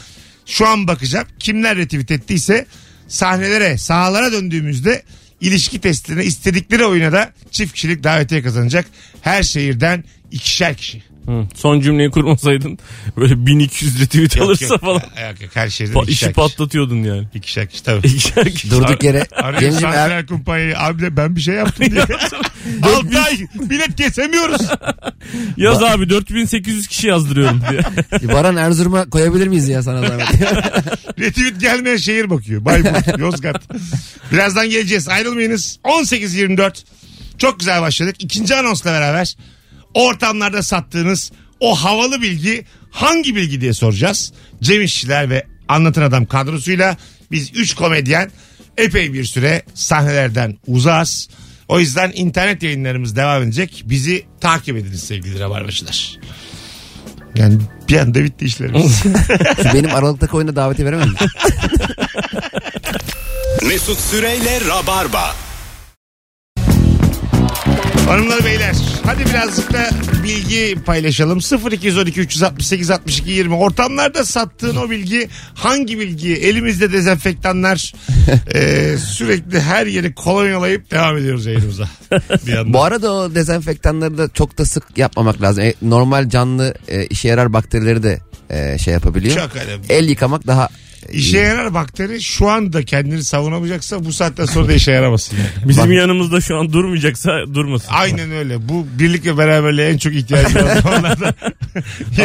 [SPEAKER 2] şu an bakacağım kimler retweet ettiyse sahnelere sahalara döndüğümüzde ilişki testine istedikleri oyuna da çift kişilik davetiye kazanacak. Her şehirden ikişer kişi.
[SPEAKER 4] Hı, Son cümleyi kurmasaydın böyle 1200 retweet
[SPEAKER 2] Yok,
[SPEAKER 4] alırsa
[SPEAKER 2] yok.
[SPEAKER 4] falan
[SPEAKER 2] Yok, yok. her şeyden
[SPEAKER 4] pa-
[SPEAKER 2] ikişer
[SPEAKER 4] işi
[SPEAKER 2] kişi.
[SPEAKER 4] patlatıyordun yani.
[SPEAKER 2] İkişer kişi tabii.
[SPEAKER 4] İkişer kişi.
[SPEAKER 3] Durduk yere.
[SPEAKER 2] Arıyor
[SPEAKER 3] Cemciğim eğer-
[SPEAKER 2] santral kumpanyayı abi de ben bir şey yaptım diye. Altı ay bilet kesemiyoruz.
[SPEAKER 4] Yaz abi 4800 kişi yazdırıyorum diye.
[SPEAKER 3] Baran Erzurum'a koyabilir miyiz ya sana zahmet?
[SPEAKER 2] Retweet gelmeyen şehir bakıyor. Bayburt, Yozgat. Birazdan geleceğiz. Ayrılmayınız. 18.24. Çok güzel başladık. İkinci anonsla beraber ortamlarda sattığınız o havalı bilgi hangi bilgi diye soracağız. Cem İşçiler ve Anlatan Adam kadrosuyla biz 3 komedyen epey bir süre sahnelerden uzağız. O yüzden internet yayınlarımız devam edecek. Bizi takip ediniz sevgili rabarbacılar. Yani bir anda bitti işlerimiz.
[SPEAKER 3] Şu benim aralıktaki oyuna daveti veremem mi?
[SPEAKER 1] Mesut Süreyle Rabarba.
[SPEAKER 2] Hanımlar beyler hadi birazcık da bilgi paylaşalım. 0212 368 62 20 ortamlarda sattığın o bilgi hangi bilgi? Elimizde dezenfektanlar Ee, sürekli her yeri kolonyalayıp devam ediyoruz yayınımıza. Bir yandan.
[SPEAKER 3] Bu arada o dezenfektanları da çok da sık yapmamak lazım. E, normal canlı e, işe yarar bakterileri de e, şey yapabiliyor.
[SPEAKER 2] Çok önemli.
[SPEAKER 3] El yıkamak daha
[SPEAKER 2] İşe yarar bakteri şu anda kendini savunamayacaksa bu saatten sonra da işe yaramasın. yani.
[SPEAKER 4] Bizim
[SPEAKER 3] Bak-
[SPEAKER 4] yanımızda şu an durmayacaksa durmasın.
[SPEAKER 2] Aynen öyle. Bu birlik ve beraberliğe en çok ihtiyacımız olan onlardan.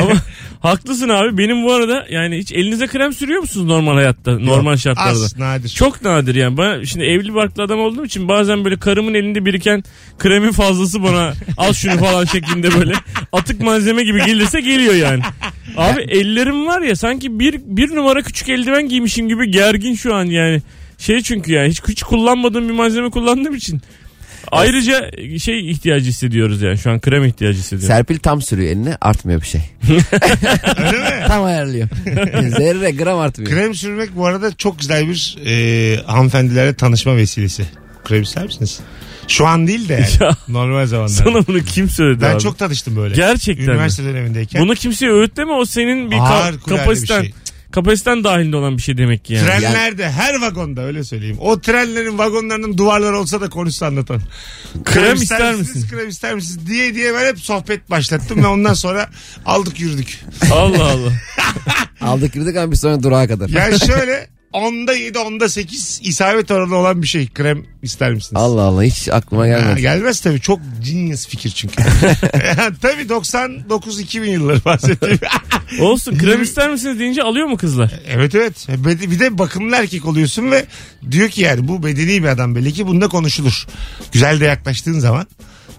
[SPEAKER 4] Ama haklısın abi. Benim bu arada yani hiç elinize krem sürüyor musunuz normal hayatta? Normal şartlarda.
[SPEAKER 2] Az nadir.
[SPEAKER 4] Çok nadir yani. Bana, şimdi evli barklı adam olduğum için bazen böyle karımın elinde biriken kremin fazlası bana al şunu falan şeklinde böyle atık malzeme gibi gelirse geliyor yani. Abi ellerim var ya sanki bir, bir numara küçük eldiven giymişim gibi gergin şu an yani. Şey çünkü yani hiç, hiç kullanmadığım bir malzeme kullandığım için. Ayrıca şey ihtiyacı hissediyoruz yani şu an krem ihtiyacı hissediyoruz.
[SPEAKER 3] Serpil tam sürüyor eline artmıyor bir şey.
[SPEAKER 2] Öyle mi?
[SPEAKER 3] Tam ayarlıyor. Zerre gram artmıyor.
[SPEAKER 2] Krem sürmek bu arada çok güzel bir e, hanımefendilerle tanışma vesilesi. Krem sürer misiniz? Şu an değil de yani.
[SPEAKER 4] Ya.
[SPEAKER 2] normal zamanlarda.
[SPEAKER 4] Sana bunu kim söyledi
[SPEAKER 2] Ben
[SPEAKER 4] abi?
[SPEAKER 2] çok tanıştım böyle.
[SPEAKER 4] Gerçekten mi?
[SPEAKER 2] Üniversite dönemindeyken.
[SPEAKER 4] Bunu kimseye öğütleme o senin bir ka-
[SPEAKER 2] Harikulade bir
[SPEAKER 4] kapasiten.
[SPEAKER 2] şey.
[SPEAKER 4] Kapasiten dahilinde olan bir şey demek ki yani.
[SPEAKER 2] Trenlerde her vagonda öyle söyleyeyim. O trenlerin vagonlarının duvarları olsa da konuşsa anlatan.
[SPEAKER 4] Krem ister misin?
[SPEAKER 2] Krem ister misiniz diye diye ben hep sohbet başlattım ve ondan sonra aldık yürüdük.
[SPEAKER 4] Allah Allah.
[SPEAKER 3] Aldık girdik ama bir sonra durağa kadar.
[SPEAKER 2] Yani şöyle onda 7 onda 8 isabet oranı olan bir şey. Krem ister misiniz?
[SPEAKER 3] Allah Allah hiç aklıma
[SPEAKER 2] Ha,
[SPEAKER 3] gelmedi.
[SPEAKER 2] gelmez tabii çok genius fikir çünkü. tabii 99-2000 yılları bahsettiğim.
[SPEAKER 4] Olsun krem ister misiniz deyince alıyor mu kızlar?
[SPEAKER 2] evet evet Bede- bir de bakımlı erkek oluyorsun ve diyor ki yani bu bedeni bir adam belli ki bunda konuşulur. Güzel de yaklaştığın zaman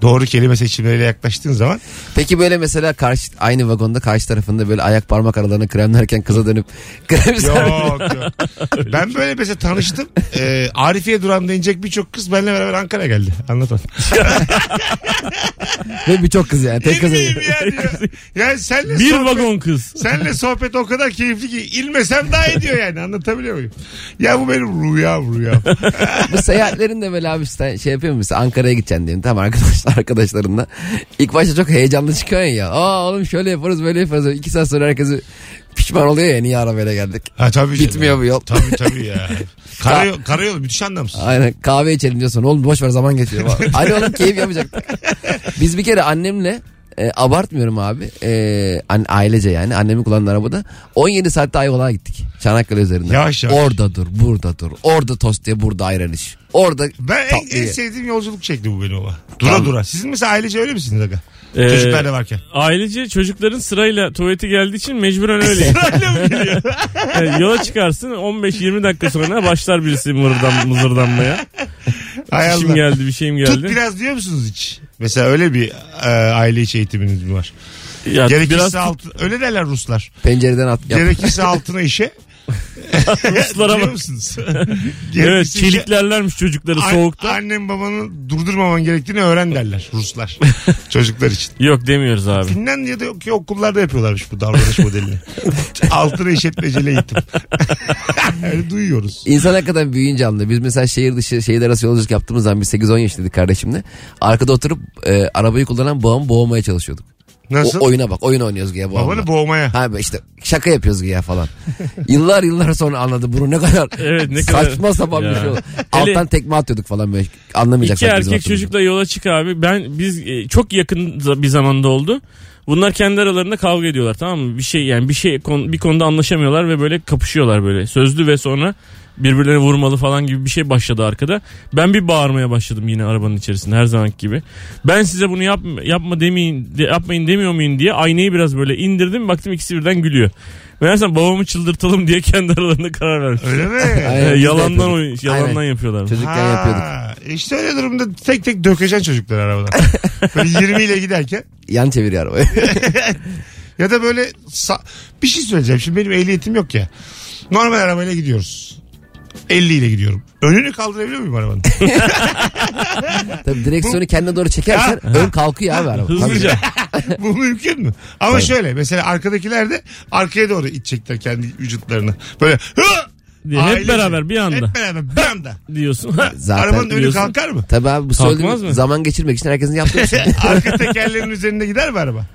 [SPEAKER 2] doğru kelime seçimleriyle yaklaştığın zaman
[SPEAKER 3] Peki böyle mesela karşı aynı vagonda karşı tarafında böyle ayak parmak aralarına kremlerken kıza dönüp krem ister misin?
[SPEAKER 2] yok yok. ben böyle mesela tanıştım. Ee, Arifiye durağında inecek birçok kız benimle beraber Ankara geldi. Anlatan.
[SPEAKER 3] Ve birçok kız yani tek kız.
[SPEAKER 2] İlmiyim ya diyor. Yani senle
[SPEAKER 4] Bir
[SPEAKER 2] sohbet-
[SPEAKER 4] vagon kız.
[SPEAKER 2] Senle sohbet o kadar keyifli ki ilmesem daha iyi diyor yani anlatabiliyor muyum? Ya bu benim rüyam rüyam.
[SPEAKER 3] Bu seyahatlerin de böyle abi sen şey yapıyor musun? Mesela Ankara'ya gideceksin diyelim tamam arkadaşlar arkadaşlarınla. İlk başta çok heyecanlı çıkıyorsun ya. Aa oğlum şöyle yaparız böyle yaparız. İki saat sonra herkesi pişman oluyor ya niye arabayla geldik.
[SPEAKER 2] Ha, tabii canım.
[SPEAKER 3] Bitmiyor bu yol.
[SPEAKER 2] Tabii tabii ya. Karayol, karayol müthiş anlamsız.
[SPEAKER 3] Aynen kahve içelim diyorsun. Oğlum boş ver zaman geçiyor. Hani oğlum keyif yapacaktık. Biz bir kere annemle e, abartmıyorum abi. E, an, ailece yani annemin kullandığı arabada 17 saatte Ayvalık'a gittik. Çanakkale üzerinden.
[SPEAKER 2] Yavaş yavaş.
[SPEAKER 3] Orada dur, burada dur. Orada tost diye burada ayran iç. Orada
[SPEAKER 2] Ben en,
[SPEAKER 3] tatlı
[SPEAKER 2] en
[SPEAKER 3] ye.
[SPEAKER 2] sevdiğim yolculuk şekli bu benim ama. Dura
[SPEAKER 3] Tamam.
[SPEAKER 2] dura. Sizin mesela ailece öyle misiniz aga?
[SPEAKER 4] Ee,
[SPEAKER 2] Çocuklar da varken.
[SPEAKER 4] Ailece çocukların sırayla tuvaleti geldiği için mecburen öyle. Yani yola çıkarsın 15-20 dakika sonra başlar birisi mırıldan, mızırdanmaya.
[SPEAKER 2] Hay
[SPEAKER 4] İşim
[SPEAKER 2] Allah.
[SPEAKER 4] geldi bir şeyim
[SPEAKER 2] Tut
[SPEAKER 4] geldi.
[SPEAKER 2] biraz diyor musunuz hiç? Mesela öyle bir e, aile içi eğitiminiz mi var?
[SPEAKER 4] Ya,
[SPEAKER 2] Gerekirse
[SPEAKER 4] biraz
[SPEAKER 2] altı, öyle derler Ruslar.
[SPEAKER 3] Pencereden at. Yap.
[SPEAKER 2] Gerekirse altına işe.
[SPEAKER 4] Ruslara
[SPEAKER 2] Biliyor
[SPEAKER 4] bak.
[SPEAKER 2] musunuz?
[SPEAKER 4] Evet
[SPEAKER 2] Gerekirse şey- işe-
[SPEAKER 4] çeliklerlermiş çocukları
[SPEAKER 2] An-
[SPEAKER 4] soğukta.
[SPEAKER 2] Annem babanın durdurmaman gerektiğini öğren derler Ruslar. Çocuklar için.
[SPEAKER 4] Yok demiyoruz abi.
[SPEAKER 2] Finlandiya'daki okullarda yapıyorlarmış bu davranış modelini. Altına işletmeceli eğitim. yani duyuyoruz.
[SPEAKER 3] İnsan hakikaten büyüyünce anlıyor. Biz mesela şehir dışı şehirler arası yolculuk yaptığımız zaman biz 8-10 yaşındaydık kardeşimle. Arkada oturup e, arabayı kullanan babamı boğmaya çalışıyorduk.
[SPEAKER 2] Nasıl?
[SPEAKER 3] O, oyuna bak oyun oynuyoruz ya babamla.
[SPEAKER 2] Babanı boğmaya.
[SPEAKER 3] Ha be işte şaka yapıyoruz ya falan. yıllar yıllar sonra anladı bunu ne kadar
[SPEAKER 4] Evet, ne kadar-
[SPEAKER 3] saçma sapan bir
[SPEAKER 4] Ya.
[SPEAKER 3] şey oldu.
[SPEAKER 4] Hele-
[SPEAKER 3] Alttan tekme atıyorduk falan böyle anlamayacak.
[SPEAKER 4] İki erkek çocukla yola çık abi. Ben biz e, çok yakın za- bir zamanda oldu. Bunlar kendi aralarında kavga ediyorlar tamam mı? Bir şey yani bir şey kon- bir konuda anlaşamıyorlar ve böyle kapışıyorlar böyle. Sözlü ve sonra birbirlerine vurmalı falan gibi bir şey başladı arkada. Ben bir bağırmaya başladım yine arabanın içerisinde her zamanki gibi. Ben size bunu yap, yapma demeyin de- yapmayın demiyor muyum diye aynayı biraz böyle indirdim baktım ikisi birden gülüyor. Meğersem babamı çıldırtalım diye kendi aralarında karar vermiş.
[SPEAKER 2] Öyle mi?
[SPEAKER 3] Aynen.
[SPEAKER 4] E,
[SPEAKER 3] biz de
[SPEAKER 4] yalandan
[SPEAKER 3] yapıyorduk.
[SPEAKER 4] oyun, yalandan
[SPEAKER 3] Aynen.
[SPEAKER 4] yapıyorlar.
[SPEAKER 3] Çocukken
[SPEAKER 2] Ha,
[SPEAKER 3] yapıyorduk.
[SPEAKER 2] İşte öyle durumda tek tek dökeceksin çocukları arabadan. Böyle 20 ile giderken.
[SPEAKER 3] Yan çeviriyor arabayı.
[SPEAKER 2] Ya da böyle sa- bir şey söyleyeceğim. Şimdi benim ehliyetim yok ya. Normal arabayla gidiyoruz. 50 ile gidiyorum. Önünü kaldırabiliyor muyum arabanın?
[SPEAKER 3] Tabii direksiyonu kendine doğru çekersen ön kalkıyor abi araba.
[SPEAKER 4] Hızlıca.
[SPEAKER 2] Bu mümkün mü? Ama şöyle mesela arkadakiler de arkaya doğru itecekler kendi vücutlarını. Böyle hı!
[SPEAKER 4] Diye hep
[SPEAKER 2] Ailece.
[SPEAKER 4] beraber bir anda.
[SPEAKER 2] Hep beraber bir anda.
[SPEAKER 4] diyorsun.
[SPEAKER 3] Zaten
[SPEAKER 2] Arabanın önü
[SPEAKER 4] biliyorsun.
[SPEAKER 2] kalkar mı?
[SPEAKER 3] Tabii abi bu
[SPEAKER 4] Kalkmaz
[SPEAKER 3] söylediğim
[SPEAKER 4] mı?
[SPEAKER 3] zaman geçirmek için herkesin yaptığı bir şey.
[SPEAKER 2] Arka tekerlerin üzerinde gider mi araba?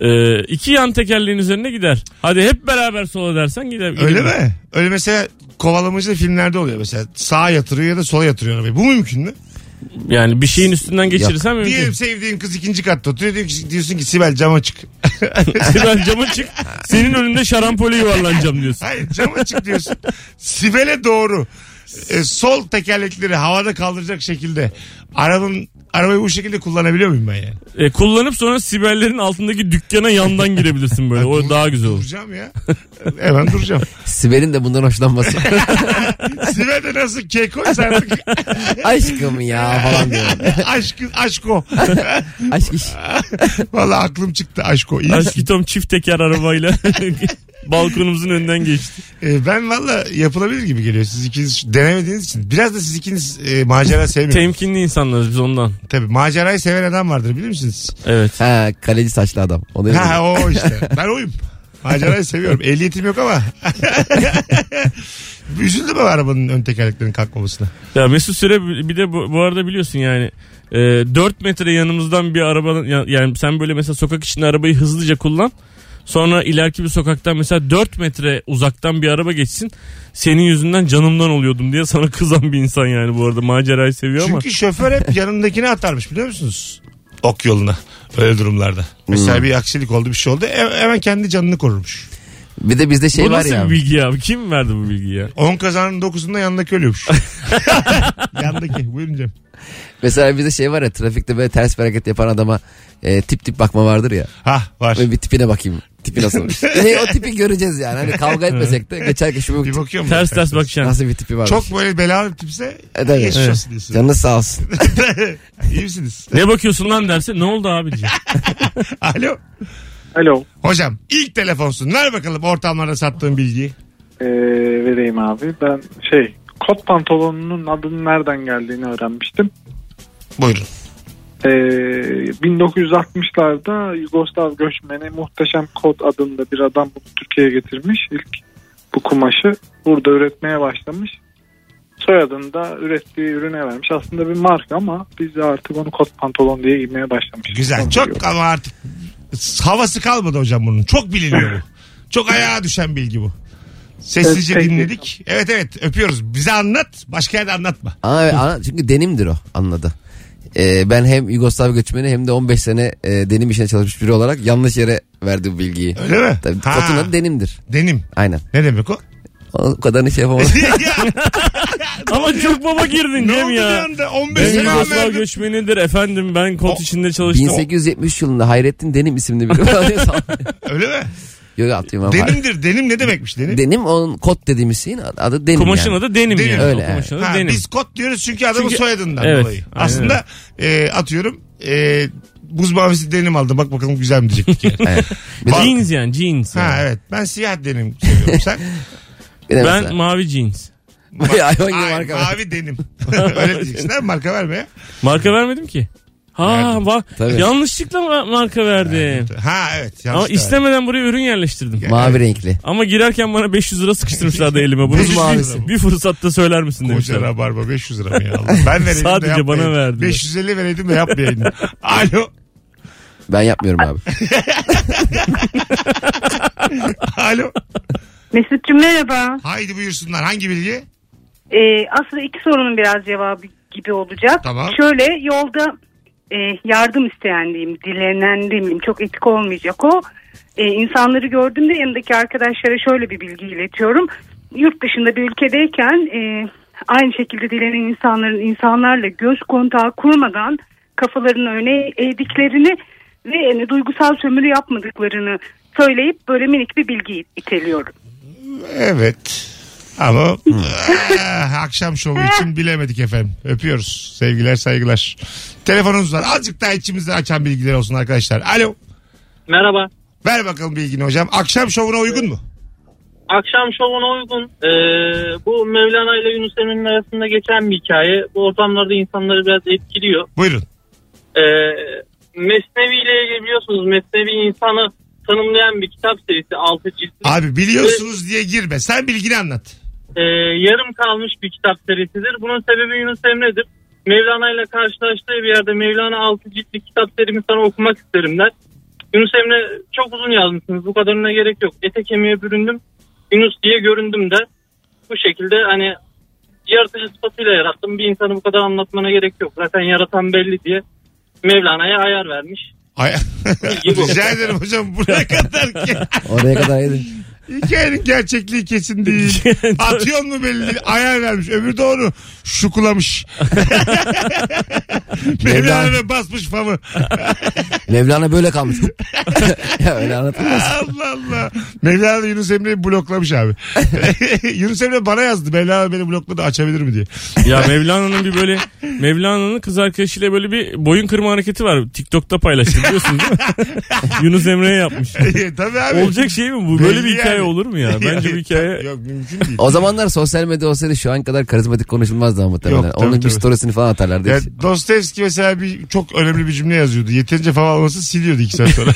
[SPEAKER 4] Ee, iki yan tekerleğin üzerine gider. Hadi hep beraber sola dersen gider.
[SPEAKER 2] Öyle
[SPEAKER 4] gidebilir.
[SPEAKER 2] mi? Öyle mesela kovalamacı filmlerde oluyor mesela. Sağa yatırıyor ya da sola yatırıyor arabayı. Bu mümkün mü?
[SPEAKER 4] Yani bir şeyin üstünden geçirirsem mümkün.
[SPEAKER 2] Diyelim sevdiğin kız ikinci katta oturuyor. Diyor ki- Diyorsun ki Sibel cama çık.
[SPEAKER 4] ben cama çık. Senin önünde şarampole yuvarlanacağım diyorsun.
[SPEAKER 2] Hayır cama çık diyorsun. Sibel'e doğru e, sol tekerlekleri havada kaldıracak şekilde arabanın arabayı bu şekilde kullanabiliyor muyum ben yani?
[SPEAKER 4] E, kullanıp sonra siberlerin altındaki dükkana yandan girebilirsin böyle. O daha güzel olur.
[SPEAKER 2] Duracağım ya. Hemen duracağım.
[SPEAKER 3] Sibel'in de bundan hoşlanması.
[SPEAKER 2] Sibel de nasıl kekoysa artık
[SPEAKER 3] Aşkım ya falan diyor.
[SPEAKER 2] aşk, aşko.
[SPEAKER 3] Aşk iş.
[SPEAKER 2] Valla aklım çıktı aşko. İyi misin?
[SPEAKER 4] Aşkitom çift teker arabayla balkonumuzun önünden geçti.
[SPEAKER 2] E, ben valla yapılabilir gibi geliyor. Siz ikiniz denemediğiniz için. Biraz da siz ikiniz e, macera sevmiyorsunuz.
[SPEAKER 4] Temkinli insanlarız biz ondan.
[SPEAKER 2] Tabii macerayı seven adam vardır bilir misiniz?
[SPEAKER 4] Evet.
[SPEAKER 3] Ha, kaleci saçlı adam. O da
[SPEAKER 2] Ha o işte. Ben oyum. Macerayı seviyorum. Ehliyetim yok ama. Üzüldüm ama arabanın ön tekerleklerinin kalkmamasına.
[SPEAKER 4] Ya Mesut Süre bir de bu, bu arada biliyorsun yani e, 4 metre yanımızdan bir arabanın ya- yani sen böyle mesela sokak içinde arabayı hızlıca kullan. Sonra ileriki bir sokaktan mesela 4 metre uzaktan bir araba geçsin. Senin yüzünden canımdan oluyordum diye sana kızan bir insan yani bu arada macerayı seviyor ama.
[SPEAKER 2] Çünkü şoför hep yanındakini atarmış biliyor musunuz? Ok yoluna. Öyle durumlarda. Mesela
[SPEAKER 3] Hmm.
[SPEAKER 2] bir aksilik oldu bir şey oldu. he- Hemen kendi canını korurmuş.
[SPEAKER 3] Bir de bizde şey
[SPEAKER 4] bu
[SPEAKER 3] var
[SPEAKER 4] nasıl
[SPEAKER 3] ya.
[SPEAKER 4] bir bilgi ya? Kim verdi bu bilgiyi ya?
[SPEAKER 2] 10 kazanın 9'unda yanındaki ölüyormuş. yanındaki. Buyurun Cem.
[SPEAKER 3] Mesela bizde şey var ya trafikte böyle ters bir hareket yapan adama e, tip tip bakma vardır ya.
[SPEAKER 2] Ha var.
[SPEAKER 3] Böyle bir tipine bakayım. Tipi nasıl olmuş? e, o tipi göreceğiz yani. Hani kavga etmesek de geçerken şu
[SPEAKER 2] Bir
[SPEAKER 3] tip-
[SPEAKER 2] bakıyor mu?
[SPEAKER 4] Ters ters bakacaksın.
[SPEAKER 3] nasıl bir tipi var.
[SPEAKER 2] Çok böyle belalı bir tipse
[SPEAKER 3] E, tabii.
[SPEAKER 2] geçmiş
[SPEAKER 3] Evet.
[SPEAKER 2] olsun diyorsun.
[SPEAKER 3] Canınız sağ olsun.
[SPEAKER 2] İyi misiniz?
[SPEAKER 4] Ne bakıyorsun lan derse ne oldu abiciğim?
[SPEAKER 2] Alo.
[SPEAKER 5] Alo.
[SPEAKER 2] Hocam ilk telefonsun. Ver bakalım ortamlarda sattığın bilgiyi.
[SPEAKER 6] Ee, vereyim abi. Ben şey kot pantolonunun adının nereden geldiğini öğrenmiştim.
[SPEAKER 2] Buyurun.
[SPEAKER 6] Ee, 1960'larda Yugoslav göçmeni Muhteşem Kot adında bir adam bunu Türkiye'ye getirmiş. İlk bu kumaşı burada üretmeye başlamış. Soyadını da ürettiği ürüne vermiş. Aslında bir marka ama biz de artık onu kot pantolon diye giymeye başlamışız.
[SPEAKER 2] Güzel.
[SPEAKER 6] Onu
[SPEAKER 2] Çok
[SPEAKER 6] diyorum.
[SPEAKER 2] ama artık havası kalmadı hocam bunun. Çok biliniyor bu. Çok ayağa düşen bilgi bu. Sessizce
[SPEAKER 6] Evet, peki.
[SPEAKER 2] dinledik. Evet evet öpüyoruz. Bize anlat. Başka yerde anlatma.
[SPEAKER 3] Ama evet, ana- çünkü denimdir o anladı. E, ben hem Yugoslav göçmeni hem de 15 sene e, denim işine çalışmış biri olarak yanlış yere verdi bu bilgiyi.
[SPEAKER 2] Öyle mi?
[SPEAKER 3] Tabii
[SPEAKER 2] Ha.
[SPEAKER 3] kotun adı denimdir.
[SPEAKER 2] Denim.
[SPEAKER 3] Aynen.
[SPEAKER 2] Ne demek o?
[SPEAKER 3] O kadarını şey
[SPEAKER 2] E,
[SPEAKER 3] yapamadım.
[SPEAKER 4] Ama çok baba girdin
[SPEAKER 2] ne
[SPEAKER 4] değil
[SPEAKER 2] oldu
[SPEAKER 4] mi
[SPEAKER 2] bir
[SPEAKER 4] ya?
[SPEAKER 2] anda? 15
[SPEAKER 4] Ben
[SPEAKER 2] sene
[SPEAKER 4] Yugoslav
[SPEAKER 2] verdim.
[SPEAKER 4] göçmenidir efendim ben
[SPEAKER 2] O-
[SPEAKER 4] kot içinde çalıştım.
[SPEAKER 3] 1873 yılında Hayrettin Denim isimli biri var.
[SPEAKER 2] Öyle mi?
[SPEAKER 3] Yok atıyorum ama.
[SPEAKER 2] Denimdir. Denim ne demekmiş denim?
[SPEAKER 3] Denim onun kot dediğimiz şeyin adı denim
[SPEAKER 4] Kumaşın
[SPEAKER 3] yani.
[SPEAKER 4] adı denim,
[SPEAKER 2] Denim.
[SPEAKER 4] yani.
[SPEAKER 3] Öyle
[SPEAKER 4] O kumaşın adı
[SPEAKER 2] Ha,
[SPEAKER 4] denim.
[SPEAKER 2] Biz kot diyoruz çünkü adamın
[SPEAKER 4] Çünkü-
[SPEAKER 2] soyadından
[SPEAKER 4] Evet,
[SPEAKER 2] dolayı.
[SPEAKER 4] aynen
[SPEAKER 2] Aslında e, atıyorum e, buz mavisi denim aldım. Bak bakalım güzel mi diyecektik yani. Ba-
[SPEAKER 4] Jeans yani jeans. yani.
[SPEAKER 2] Ha evet. Ben siyah denim seviyorum. Sen?
[SPEAKER 3] Bir de
[SPEAKER 4] Ben
[SPEAKER 3] mesela-
[SPEAKER 4] mavi jeans.
[SPEAKER 3] Bayağı hangi
[SPEAKER 2] Ay,
[SPEAKER 3] marka var?
[SPEAKER 2] mavi denim. Öyle diyeceksin. Ha, marka verme ya.
[SPEAKER 4] Marka vermedim ki. Ha
[SPEAKER 2] Verdin.
[SPEAKER 4] bak
[SPEAKER 3] Tabii.
[SPEAKER 4] yanlışlıkla ma- marka verdim.
[SPEAKER 2] Ha evet. yanlış
[SPEAKER 4] Ama
[SPEAKER 2] da verdim.
[SPEAKER 4] istemeden buraya ürün yerleştirdim.
[SPEAKER 3] Mavi renkli.
[SPEAKER 4] Ama girerken bana 500 lira sıkıştırmışlardı elime. Bunu
[SPEAKER 2] 500
[SPEAKER 4] bir-
[SPEAKER 2] mavisi.
[SPEAKER 4] bir fırsatta söyler misin
[SPEAKER 2] Koca
[SPEAKER 4] demişler.
[SPEAKER 2] rabarba 500 lira mı ya? Allah. Ben vereydim de
[SPEAKER 4] Sadece
[SPEAKER 2] yapmayayım.
[SPEAKER 4] bana verdiler.
[SPEAKER 2] 550 vereydim de yapmayayım. Alo.
[SPEAKER 3] Ben yapmıyorum abi.
[SPEAKER 2] Alo.
[SPEAKER 9] Mesut'cum merhaba.
[SPEAKER 2] Haydi buyursunlar. Hangi bilgi?
[SPEAKER 9] Ee, aslında iki sorunun biraz cevabı gibi olacak.
[SPEAKER 2] Tamam.
[SPEAKER 9] Şöyle yolda e, yardım isteyen diyeyim, dilenen diyeyim, çok etik olmayacak o. E, insanları gördüğümde yanındaki arkadaşlara şöyle bir bilgi iletiyorum. Yurt dışında bir ülkedeyken e, aynı şekilde dilenen insanların insanlarla göz kontağı kurmadan kafalarını öne eğdiklerini ve yani duygusal sömürü yapmadıklarını söyleyip böyle minik bir bilgi iteliyorum.
[SPEAKER 2] Evet. Ama eh, akşam şovu için bilemedik efendim. Öpüyoruz. Sevgiler saygılar. Telefonunuz var. Azıcık daha içimizde açan bilgiler olsun arkadaşlar. Alo.
[SPEAKER 7] Merhaba.
[SPEAKER 2] Ver bakalım bilgini hocam. Akşam şovuna uygun mu?
[SPEAKER 7] akşam şovuna uygun. Ee, bu Mevlana ile Yunus Emre'nin arasında geçen bir hikaye. Bu ortamlarda insanları biraz etkiliyor.
[SPEAKER 2] Buyurun.
[SPEAKER 7] Ee, Mesnevi ile ilgili biliyorsunuz Mesnevi insanı tanımlayan bir kitap serisi 6 ciltli.
[SPEAKER 2] Abi biliyorsunuz diye girme. Sen bilgini anlat.
[SPEAKER 7] Ee, yarım kalmış bir kitap serisidir. Bunun sebebi Yunus Emre'dir. Mevlana ile karşılaştığı bir yerde Mevlana 6 ciltli kitap serimi sana okumak isterim der. Yunus Emre çok uzun yazmışsınız bu kadarına gerek yok. Ete kemiğe büründüm Yunus diye göründüm der. Bu şekilde hani yaratıcı sıfatıyla yarattım bir insanı bu kadar anlatmana gerek yok. Zaten yaratan belli diye Mevlana'ya ayar vermiş.
[SPEAKER 2] Ay- Rica ederim hocam buraya kadar ki
[SPEAKER 3] Oraya kadar iyiydi.
[SPEAKER 2] hikayenin gerçekliği kesin değil. Atıyor mu belli değil. Ayar vermiş. Öbürü doğru. Şukulamış. Mevlana ve basmış famı.
[SPEAKER 3] Mevlana böyle kalmış. ya öyle anlatılmaz.
[SPEAKER 2] Allah Allah. Mevlana da Yunus Emre'yi bloklamış abi. Yunus Emre bana yazdı. Mevlana beni blokladı açabilir mi diye.
[SPEAKER 4] Ya Mevlana'nın bir böyle Mevlana'nın kız arkadaşıyla böyle bir boyun kırma hareketi var. TikTok'ta paylaştım biliyorsun değil mi? Yunus Emre'ye yapmış.
[SPEAKER 2] Tabii abi.
[SPEAKER 4] Olacak şey mi bu? Böyle bir
[SPEAKER 2] Belli
[SPEAKER 4] hikaye
[SPEAKER 2] yani.
[SPEAKER 4] olur mu ya? Bence bu hikaye
[SPEAKER 2] Yok mümkün değil.
[SPEAKER 3] O zamanlar sosyal medya olsaydı şu an kadar karizmatik konuşulmazdı ama muhtemelen.
[SPEAKER 2] Yok, tabii,
[SPEAKER 3] Onun bir
[SPEAKER 2] tabii.
[SPEAKER 3] storiesini falan atarlardı.
[SPEAKER 2] Ya Dostoyevski mesela bir çok önemli bir cümle yazıyordu. Yeterince fav alması siliyordu iki saat sonra.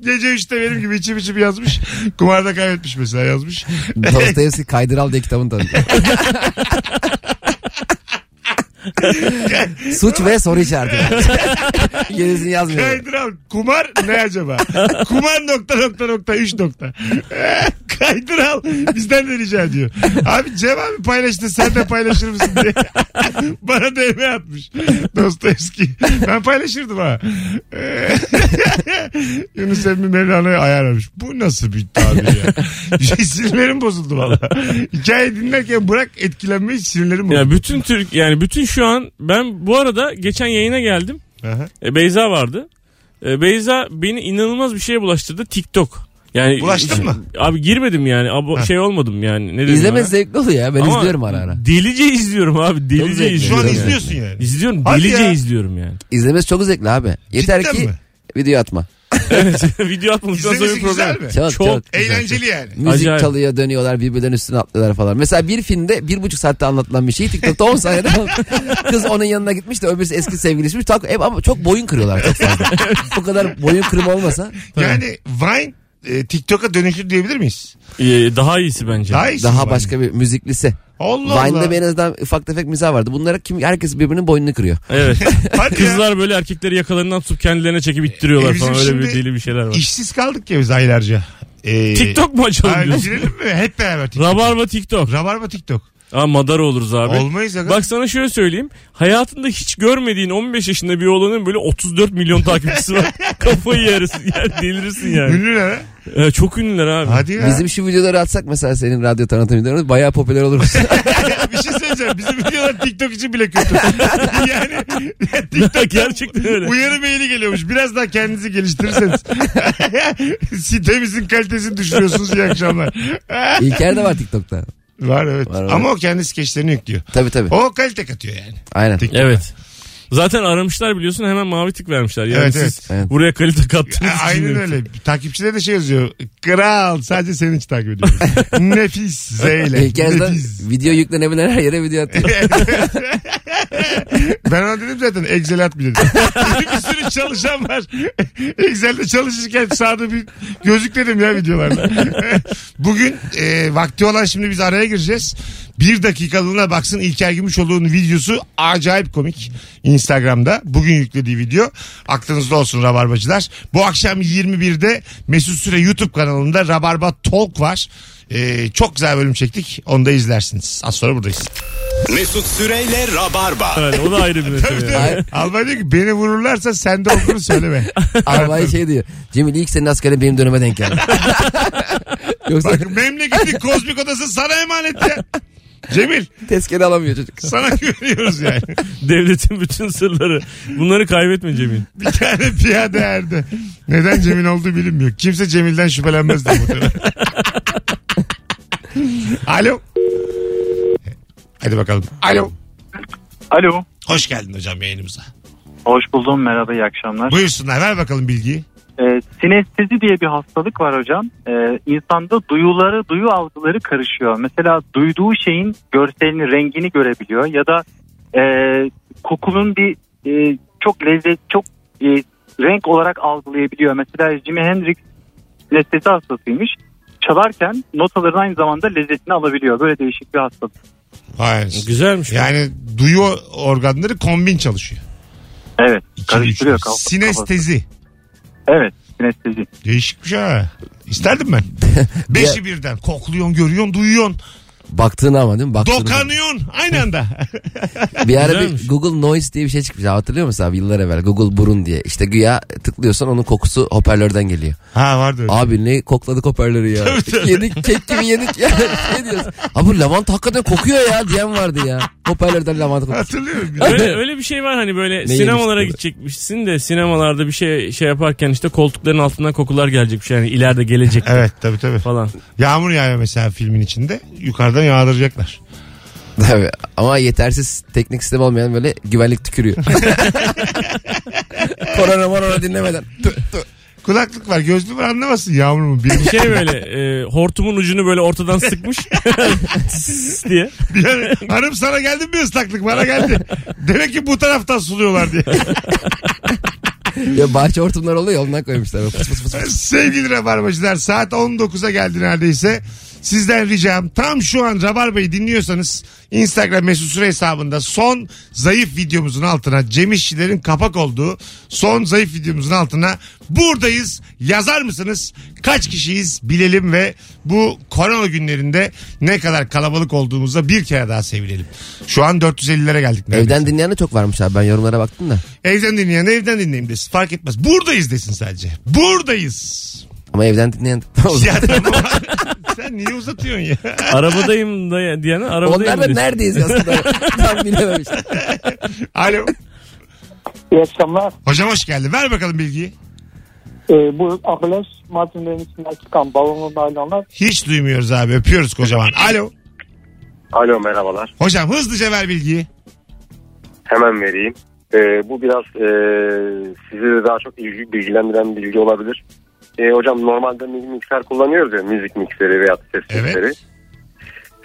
[SPEAKER 2] Gece üçte benim gibi içim içim yazmış. Kumarda kaybetmiş mesela yazmış.
[SPEAKER 3] Dostoyevski Kaydıral diye kitabını tanıtıyor. Suç ve soru işareti. Gerisini yazmıyor.
[SPEAKER 2] Kaydıral kumar ne acaba? kumar nokta nokta nokta üç nokta. Kaydıral bizden de rica ediyor. Abi Cem abi paylaştı sen de paylaşır mısın diye. Bana DM atmış. Dostoyevski. Ben paylaşırdım ha. Yunus Emre Mevlana'ya ayarlamış. Bu nasıl bir tabir ya? şey, sinirlerim bozuldu valla. Hikaye dinlerken bırak etkilenmeyi sinirlerim bozuldu.
[SPEAKER 4] ya bütün Türk yani bütün şu an ben bu arada geçen yayına geldim.
[SPEAKER 2] Aha.
[SPEAKER 4] E, Beyza vardı. E, Beyza beni inanılmaz bir şeye bulaştırdı TikTok. Yani
[SPEAKER 2] Bulaştın mı?
[SPEAKER 4] Abi girmedim yani. Abo, şey olmadım yani. Ne dedim
[SPEAKER 3] İzlemesi
[SPEAKER 4] ona?
[SPEAKER 3] zevkli oluyor ya. Ben
[SPEAKER 4] Ama
[SPEAKER 3] izliyorum ara ara.
[SPEAKER 4] Delice izliyorum abi.
[SPEAKER 3] Çok
[SPEAKER 4] Delice
[SPEAKER 3] zevkli.
[SPEAKER 2] Şu
[SPEAKER 4] izliyorum.
[SPEAKER 2] an
[SPEAKER 4] yani.
[SPEAKER 2] izliyorsun yani.
[SPEAKER 4] İzliyorum.
[SPEAKER 2] Hadi
[SPEAKER 4] delice
[SPEAKER 2] ya.
[SPEAKER 4] izliyorum yani.
[SPEAKER 3] İzlemesi çok zevkli abi. Yeter
[SPEAKER 2] Cidden
[SPEAKER 3] ki
[SPEAKER 2] mi?
[SPEAKER 3] video atma.
[SPEAKER 4] Video atmadıktan sonra
[SPEAKER 2] İzlemesi
[SPEAKER 4] bir problem.
[SPEAKER 2] güzel mi?
[SPEAKER 3] Çok,
[SPEAKER 4] Çok
[SPEAKER 3] çok, güzel.
[SPEAKER 2] Eğlenceli yani.
[SPEAKER 3] Müzik
[SPEAKER 4] Acayip.
[SPEAKER 3] çalıyor dönüyorlar birbirlerinin üstüne atlıyorlar falan. Mesela bir filmde bir buçuk saatte anlatılan bir şey TikTok'ta 10 saniyede kız onun yanına gitmiş de öbürsü eski sevgilisiymiş. Tak, hep ama çok boyun kırıyorlar çok fazla. Bu kadar boyun kırma olmasa
[SPEAKER 2] Yani Vine e, TikTok'a dönüşür diyebilir miyiz?
[SPEAKER 4] Ee, daha iyisi bence.
[SPEAKER 2] Daha, iyisi
[SPEAKER 3] daha
[SPEAKER 2] Vine.
[SPEAKER 3] başka bir müziklisi.
[SPEAKER 2] Allah
[SPEAKER 3] Vine'da
[SPEAKER 2] Allah.
[SPEAKER 3] bir en azından ufak tefek mizah vardı. Bunlara kim herkes birbirinin boynunu kırıyor.
[SPEAKER 4] Evet.
[SPEAKER 2] Hadi ya.
[SPEAKER 4] Kızlar böyle erkekleri yakalarından tutup kendilerine çekip ittiriyorlar
[SPEAKER 2] E, bizim
[SPEAKER 4] falan. Öyle bir
[SPEAKER 2] şimdi
[SPEAKER 4] deli bir şeyler var.
[SPEAKER 2] İşsiz kaldık ya biz aylarca. Ee,
[SPEAKER 4] TikTok mu açalım
[SPEAKER 2] Ha,
[SPEAKER 4] diyorsun?
[SPEAKER 2] girelim mi? Hep beraber TikTok.
[SPEAKER 4] Rabarba TikTok.
[SPEAKER 2] Rabarba TikTok.
[SPEAKER 4] Aa, madar oluruz abi.
[SPEAKER 2] Olmayız aga.
[SPEAKER 4] Bak sana şöyle söyleyeyim. Hayatında hiç görmediğin 15 yaşında bir oğlanın böyle 34 milyon takipçisi var. Kafayı yersin. Yani delirirsin yani.
[SPEAKER 2] Ünlü ne? lan?
[SPEAKER 4] Ee, çok ünlüler abi.
[SPEAKER 2] Hadi ya.
[SPEAKER 3] Bizim şu videoları atsak mesela senin radyo tanıtım videoları bayağı popüler oluruz.
[SPEAKER 2] bir şey söyleyeceğim. Bizim videolar TikTok için bile kötü. yani TikTok
[SPEAKER 4] Gerçekten öyle.
[SPEAKER 2] Uyarı maili geliyormuş. Biraz daha kendinizi geliştirirseniz. Sitemizin kalitesini düşürüyorsunuz. İyi akşamlar.
[SPEAKER 3] İlker de var TikTok'ta.
[SPEAKER 2] var evet.
[SPEAKER 3] Var, var.
[SPEAKER 2] Ama o kendi skeçlerini yüklüyor.
[SPEAKER 3] Tabii tabii.
[SPEAKER 2] O kalite katıyor yani.
[SPEAKER 3] Aynen.
[SPEAKER 2] TikTok.
[SPEAKER 4] Evet. Zaten aramışlar biliyorsun hemen mavi tık vermişler. Yani
[SPEAKER 2] Evet,
[SPEAKER 4] siz
[SPEAKER 3] evet.
[SPEAKER 4] buraya kalite kattınız.
[SPEAKER 2] Ha, Aynen
[SPEAKER 4] Bilmiyorum.
[SPEAKER 2] öyle. Takipçilere de şey yazıyor. Kral sadece senin için takip ediyoruz. Nefis Zeyle.
[SPEAKER 3] İlker de
[SPEAKER 2] Nefis.
[SPEAKER 3] video yüklenebilen her yere video atıyor.
[SPEAKER 2] Ben ona dedim zaten Excel at bir dedim. bir sürü çalışan var. Excel'de çalışırken sağda bir gözük dedim ya videolarda. Bugün e, vakti olan şimdi biz araya gireceğiz. Bir dakikalığına baksın İlker Gümüşoğlu'nun videosu acayip komik. Instagram'da bugün yüklediği video. Aklınızda olsun Rabarbacılar. Bu akşam 21'de Mesut Süre YouTube kanalında Rabarba Talk var. E, çok güzel bölüm çektik. Onu da izlersiniz. Az sonra buradayız.
[SPEAKER 1] Mesut Süreyle Rabarba.
[SPEAKER 4] Yani o da ayrı bir
[SPEAKER 2] Tabii
[SPEAKER 4] mesele.
[SPEAKER 2] tabii.
[SPEAKER 4] yani.
[SPEAKER 3] Ay-
[SPEAKER 2] Albay diyor ki beni vururlarsa sende olduğunu söyleme.
[SPEAKER 3] Albay şey diyor. Cemil ilk senin askerin benim döneme denk geldi. Yoksa
[SPEAKER 2] Bak memleketin kozmik odası sana emanet ya. Cemil
[SPEAKER 3] tezkere alamıyor çocuk.
[SPEAKER 2] sana güveniyoruz yani.
[SPEAKER 4] Devletin bütün sırları. Bunları kaybetme Cemil.
[SPEAKER 2] Bir tane piyade erdi. Neden Cemil olduğu bilinmiyor. Kimse Cemil'den şüphelenmez de muhtemelen. Alo. Hadi bakalım. Alo.
[SPEAKER 6] Alo.
[SPEAKER 2] Hoş geldin hocam yayınımıza.
[SPEAKER 6] Hoş buldum. Merhaba iyi akşamlar.
[SPEAKER 2] Buyursunlar ver bakalım bilgiyi.
[SPEAKER 6] Ee,
[SPEAKER 10] Sinestezi diye bir hastalık var hocam. Ee, insanda duyuları, duyu algıları karışıyor. Mesela duyduğu şeyin görselini, rengini görebiliyor ya da e, kokunun bir e, çok lezzet, çok e, renk olarak algılayabiliyor. Mesela Jimi Hendrix sinestezi hastasıymış. Çalarken notaların aynı zamanda lezzetini alabiliyor. Böyle değişik bir hastalık.
[SPEAKER 2] Hayır.
[SPEAKER 4] Güzelmiş.
[SPEAKER 2] Yani duyu organları kombin çalışıyor.
[SPEAKER 10] Evet,
[SPEAKER 2] İkili
[SPEAKER 10] karıştırıyor
[SPEAKER 2] üçlü.
[SPEAKER 10] kafa-
[SPEAKER 2] Sinestezi.
[SPEAKER 10] kafasını. Evet, sinestezi.
[SPEAKER 2] Değişikmiş ha. İsterdim ben. Beşi birden. Kokluyorsun, görüyorsun, duyuyorsun.
[SPEAKER 3] Baktığını ama değil mi? Baktığını.
[SPEAKER 2] Dokanıyorsun aynı anda.
[SPEAKER 3] Bir ara
[SPEAKER 4] Güzelmiş.
[SPEAKER 3] bir Google Noise diye bir şey çıkmış. Ya Hatırlıyor musun abi yıllar evvel? Google Burun diye. İşte güya tıklıyorsan onun kokusu hoparlörden geliyor.
[SPEAKER 2] ha vardı öyle.
[SPEAKER 3] Abi ne kokladık hoparlörü ya. yedik kek gibi yedik ya. Şey diyorsun. Abi bu lavanta hakikaten kokuyor ya diyen vardı ya. Hoparlörden lavanta kokuyor.
[SPEAKER 2] Hatırlıyorum.
[SPEAKER 4] Öyle, öyle bir şey var hani böyle
[SPEAKER 3] yemiş
[SPEAKER 4] sinemalara
[SPEAKER 3] tabii.
[SPEAKER 4] gidecekmişsin de sinemalarda bir şey şey yaparken işte koltukların altından kokular gelecekmiş yani ileride gelecek
[SPEAKER 2] Evet tabii tabii.
[SPEAKER 4] falan.
[SPEAKER 2] Yağmur yağıyor mesela filmin içinde. Yukarıdan yağdıracaklar.
[SPEAKER 3] Tabii. Ama yetersiz teknik sistem olmayan böyle güvenlik tükürüyor. korona morona dinlemeden. Tü, tü.
[SPEAKER 2] Kulaklık var gözlü var anlamasın yağmur mu? Bir,
[SPEAKER 4] Şey böyle e, hortumun ucunu böyle ortadan sıkmış Sss diye.
[SPEAKER 2] bir an- hanım sana geldi mi ıslaklık bana geldi. Demek ki bu taraftan suluyorlar diye.
[SPEAKER 3] Ya bahçe hortumlar oluyor ya, ondan koymuşlar. Fıs fıs fıs.
[SPEAKER 2] Sevgili Rabarbacılar saat 19'a geldi neredeyse. Sizden ricam tam şu an Rabarba'yı dinliyorsanız Instagram mesut süre hesabında son zayıf videomuzun altına Cem İşçilerin kapak olduğu son zayıf videomuzun altına buradayız yazar mısınız? Kaç kişiyiz bilelim ve bu korona günlerinde ne kadar kalabalık olduğumuzda bir kere daha sevinelim. Şu an 450'lere geldik. neredeyse.
[SPEAKER 3] Evden dinleyen de çok varmış abi. Ben yorumlara baktım da.
[SPEAKER 2] Evden dinleyen evden dinleyeyim desin fark etmez. Buradayız desin sadece. Buradayız.
[SPEAKER 3] Ama evden dinleyen...
[SPEAKER 2] Ya tamam. Sen niye uzatıyorsun ya?
[SPEAKER 4] Arabadayım da diyene arabadayım
[SPEAKER 3] Onlar da
[SPEAKER 4] diyorsun.
[SPEAKER 3] neredeyiz aslında? Tam bilememiş.
[SPEAKER 2] Alo.
[SPEAKER 8] İyi akşamlar.
[SPEAKER 2] Hocam hoş geldin. Ver bakalım bilgiyi.
[SPEAKER 8] Ee, bu Akılaş Mardinlerin içinden çıkan balonlu naylonlar.
[SPEAKER 2] Hiç duymuyoruz abi. Öpüyoruz kocaman. Alo.
[SPEAKER 5] Alo merhabalar.
[SPEAKER 2] Hocam hızlıca ver bilgiyi.
[SPEAKER 5] Hemen vereyim. Ee, bu biraz e, sizi de daha çok ilgi, bilgilendiren bilgi olabilir. Ee, hocam normalde mi- mikser kullanıyoruz ya müzik mikseri veya ses
[SPEAKER 2] Evet.
[SPEAKER 5] mikseri.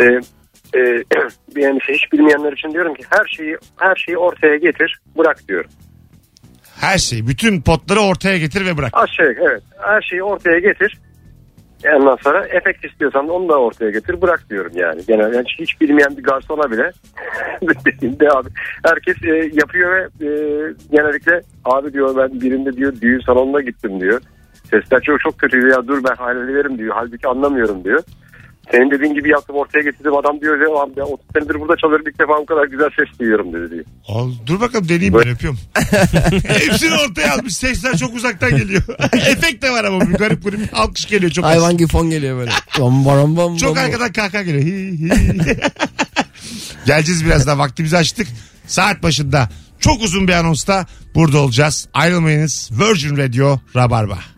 [SPEAKER 5] Ee, e, yani şey, hiç bilmeyenler için diyorum ki her şeyi her şeyi ortaya getir bırak diyorum.
[SPEAKER 2] Her şeyi. Bütün potları ortaya getir ve bırak.
[SPEAKER 5] Aşağı şey, evet her şeyi ortaya getir. Ondan sonra efekt istiyorsan da onu da ortaya getir bırak diyorum yani. Genelde yani hiç bilmeyen bir garsona bile de abi herkes e, yapıyor ve e, genellikle abi diyor ben birinde diyor düğün salonuna gittim diyor. Sesler çok çok kötü ya dur ben hallederim diyor. Halbuki anlamıyorum diyor. Senin dediğin gibi yaptım ortaya getirdim adam diyor ya abi ben 30 senedir burada çalıyorum ilk defa bu kadar güzel ses duyuyorum dedi diyor.
[SPEAKER 2] Al, dur bakalım deneyeyim ben öpüyorum. Hepsini ortaya almış. Sesler çok uzaktan geliyor. Efekt de var ama bir garip garip alkış geliyor çok az.
[SPEAKER 3] Hayvan gibi fon geliyor böyle. Bom bom bom
[SPEAKER 2] Çok
[SPEAKER 3] bom.
[SPEAKER 2] arkadan kahkaha geliyor. Hi, hi. Geleceğiz birazdan vaktimizi açtık. Saat başında çok uzun bir anonsta burada olacağız. Ayrılmayınız. Virgin Radio Rabarba.